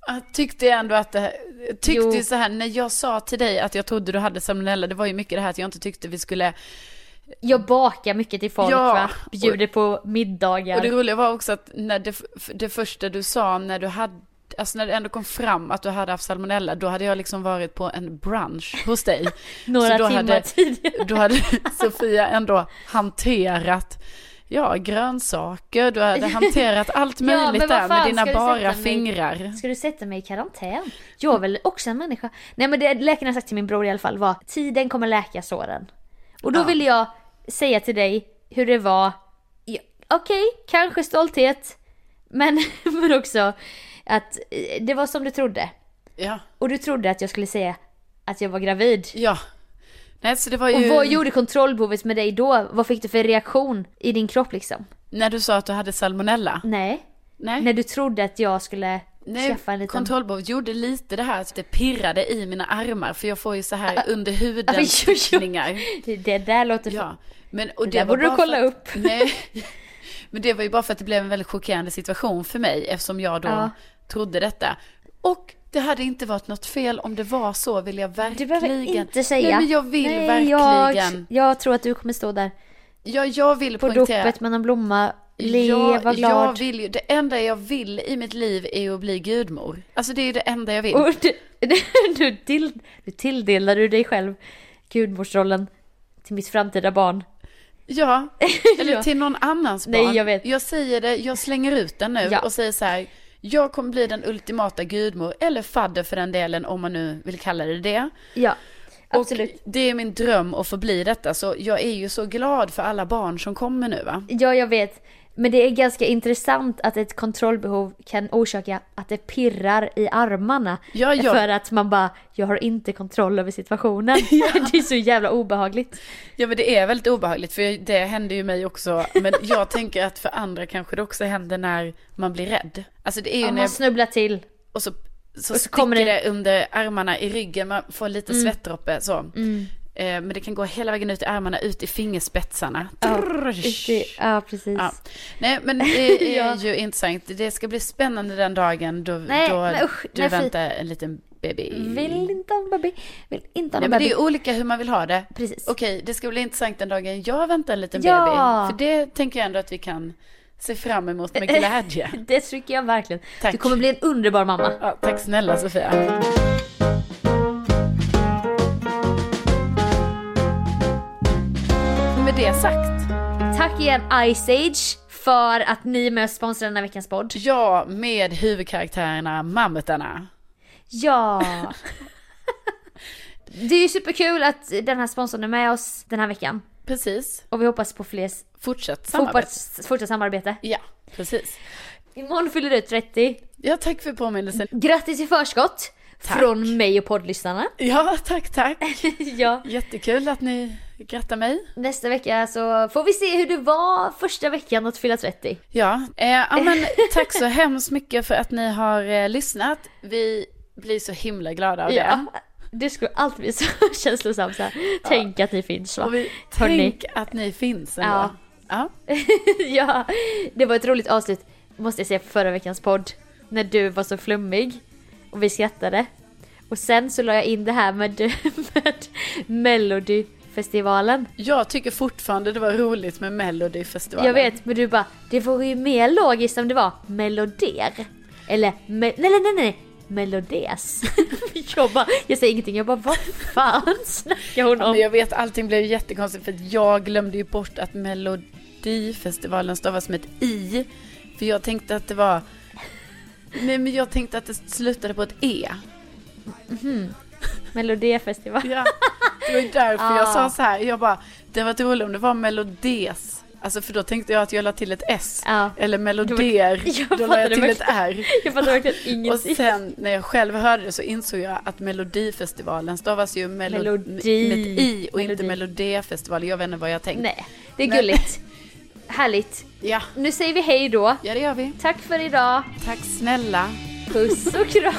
S1: Jag tyckte ändå att det, jag tyckte
S2: Jo.
S1: ju så här när jag sa till dig att jag trodde du hade salmonella. Det var ju mycket det här att jag inte tyckte vi skulle
S2: Jag bakar mycket till folk
S1: Ja.
S2: va, bjuder på middagar.
S1: Och det roliga var också att när det, f- det första du sa när du hade Alltså när det ändå kom fram att du hade haft salmonella, då hade jag liksom varit på en brunch hos dig.
S2: [laughs] Några
S1: då
S2: timmar
S1: hade,
S2: tidigare.
S1: Då hade [laughs] Sofia ändå hanterat, ja, grönsaker,
S2: [laughs]
S1: du hade hanterat allt möjligt
S2: men vad
S1: där med
S2: fan
S1: dina
S2: ska du
S1: bara
S2: sätta mig?
S1: fingrar.
S2: Ska du sätta mig i karantän? Jag är väl också en människa? Nej men det läkaren har sagt till min bror i alla fall var tiden kommer läka såren. Och då ville jag säga till dig hur det var. Ja, Okej, kanske stolthet. Men, [laughs] men också att eh, det var som du trodde.
S1: Ja,
S2: Och du trodde att jag skulle säga att jag var gravid.
S1: ja. Nej, så det var
S2: Och
S1: ju
S2: vad gjorde kontrollbehovet med dig då? Vad fick du för reaktion i din kropp liksom?
S1: när du sa att du hade salmonella.
S2: Nej.
S1: Nej.
S2: När du trodde att jag skulle
S1: Nej,
S2: skaffa en liten...
S1: kontrollbehovet gjorde lite det här att det pirrade i mina armar för jag får ju så här under
S2: Ah. Ja, men
S1: huden
S2: jo, jo.
S1: prickningar.
S2: Det- Det där låter
S1: Ja, men och
S2: Det
S1: det,
S2: där
S1: var
S2: borde du
S1: bara för
S2: kolla
S1: att,
S2: upp.
S1: [laughs] Nej, men det var ju bara för att det blev en väldigt chockerande situation för mig eftersom jag då
S2: Ja.
S1: trodde detta. Och det hade inte varit något fel om det var så, vill jag
S2: Du
S1: verkligen.
S2: behöver inte säga.
S1: Nej, men jag vill
S2: Nej,
S1: verkligen.
S2: Jag, jag tror att du kommer stå där
S1: Jag, jag vill
S2: på
S1: poängtera.
S2: dopet med en blomma. Le, var
S1: Jag
S2: glad.
S1: vill ju, det enda jag vill i mitt liv är ju att bli gudmor. Alltså det är ju det enda jag
S2: [laughs]
S1: vill.
S2: Och du, du, till, du tilldelar du dig själv gudmorsrollen till mitt framtida barn. [laughs]
S1: Ja, eller till någon annans barn.
S2: Nej, jag vet.
S1: jag säger det, jag slänger ut den nu
S2: Ja.
S1: och säger så här. Jag kommer bli den ultimata gudmor, eller fadder för den delen om man nu vill kalla det det.
S2: Ja,
S1: Och
S2: absolut.
S1: det är min dröm att få bli detta, så jag är ju så glad för alla barn som kommer nu va.
S2: Ja, jag vet. Men det är ganska intressant att ett kontrollbehov kan orsaka att det pirrar i armarna.
S1: Ja, ja.
S2: För att man bara, jag har inte kontroll över
S1: [laughs]
S2: situationen. [laughs] Det är så jävla obehagligt.
S1: Ja men det är väldigt obehagligt för det händer ju mig också. Men
S2: [laughs]
S1: jag tänker att för andra kanske det också händer när man blir rädd. Alltså det är ju
S2: Om
S1: när
S2: man
S1: jag,
S2: snubblar till.
S1: och så, så,
S2: och så
S1: sticker
S2: kommer
S1: det...
S2: det- Mm.
S1: under armarna i ryggen, man får lite svettdroppe så. Eh, men det kan gå hela vägen ut i armarna, ut i fingerspetsarna. Trrrsch.
S2: Det, ja, precis.
S1: Ja. Nej
S2: [laughs]
S1: men det är
S2: Ja.
S1: ju intressant, det ska bli spännande den dagen då,
S2: Nej,
S1: då
S2: men usch,
S1: du
S2: nej, fy.
S1: väntar en liten baby.
S2: Vill inte ha en baby. Vill inte ha
S1: Nej,
S2: en
S1: men det är
S2: baby.
S1: ju olika hur man vill ha det.
S2: Precis.
S1: Okej, det ska bli intressant den dagen jag väntar en liten
S2: Ja.
S1: baby. För det tänker jag ändå att vi kan se fram emot
S2: [laughs]
S1: med glädje.
S2: Det tycker jag verkligen.
S1: Tack.
S2: Du kommer bli en underbar mamma.
S1: Ja, tack snälla Sofia. Med det sagt,
S2: Tack igen Ice Age för att ni är med och sponsrar den här veckans podd.
S1: ja med huvudkaraktärerna mammutarna.
S2: Ja! [laughs] det är ju superkul att den här sponsorn är med oss den här veckan.
S1: Precis,
S2: Och vi hoppas på fler s-
S1: fortsätt samarbete.
S2: fortsatt, fortsatt samarbete.
S1: Ja, precis.
S2: Imorgon fyller du 30.
S1: Ja, tack för påminnelsen.
S2: Grattis i förskott!
S1: Tack.
S2: Från mig och [laughs] poddlyssnarna.
S1: Ja, tack, tack.
S2: ja.
S1: Jättekul att ni grattar mig.
S2: Nästa vecka så får vi se hur det var första veckan att fylla 30.
S1: Ja, eh, ja men tack [laughs] så hemskt mycket för att ni har eh, lyssnat. Vi blir så himla glada av det.
S2: Det skulle alltid bli så [laughs] känslosamt så här. Tänk att ni finns va?
S1: Och vi,
S2: Hörrni.
S1: tänk att ni finns ändå. Ja.
S2: Ja.
S1: Ja.
S2: [laughs] ja, det var ett roligt avslut måste jag säga på förra veckans podd. När du var så flummig och vi skrattade. Och sen så la jag in det här med, [laughs] med Melodifestivalen.
S1: Jag tycker fortfarande det var roligt med Melodifestivalen.
S2: Jag vet, men du bara, det vore ju mer logiskt om det var Meloder. Eller, me- nej nej nej nej, Melodés. [laughs] jag bara, jag säger ingenting, jag bara vad fan [laughs] snackar hon
S1: Men
S2: om?
S1: jag vet, allting blev ju jättekonstigt för att jag glömde ju bort att Melodifestivalen stavas med ett i. För jag tänkte att det var... Nej, men jag tänkte att det slutade på ett e.
S2: Melodifestival.
S1: Ja, det var ju därför jag
S2: Ah.
S1: sa så här. Jag bara, det var varit roligt om det var melodés. Alltså för då tänkte jag att jag la till ett S.
S2: Ja.
S1: Eller melodier.
S2: [laughs] Jag
S1: då la
S2: fattade
S1: jag till ett R.
S2: verkligen- Jag fattar verkligen
S1: Och
S2: ingenting.
S1: sen när jag själv hörde det så insåg jag att Melodifestivalen stavas ju melo-
S2: Melodi.
S1: med ett i och inte
S2: Melodi.
S1: Melodifestivalen. Jag vet inte vad jag tänkte.
S2: Nej, det är
S1: Nej.
S2: gulligt. Härligt.
S1: Ja,
S2: Nu säger vi hej då.
S1: ja det gör vi.
S2: Tack för idag.
S1: Tack snälla.
S2: Puss och kram.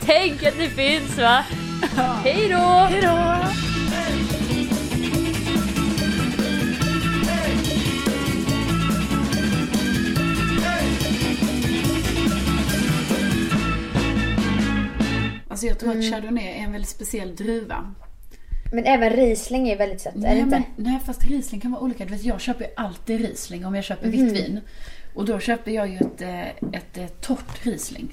S2: Tänk att ni finns va? Hej då!
S1: Hej då! Alltså jag tror
S2: Mm.
S1: att Chardonnay är en väldigt speciell druva.
S2: Men även Riesling är väldigt sött,
S1: nej, Men, nej, fast Riesling kan vara olika. Du vet, jag köper ju alltid Riesling om jag köper
S2: Mhm.
S1: vitt vin. Och då köper jag ju ett, eh, ett, eh, torrt Riesling.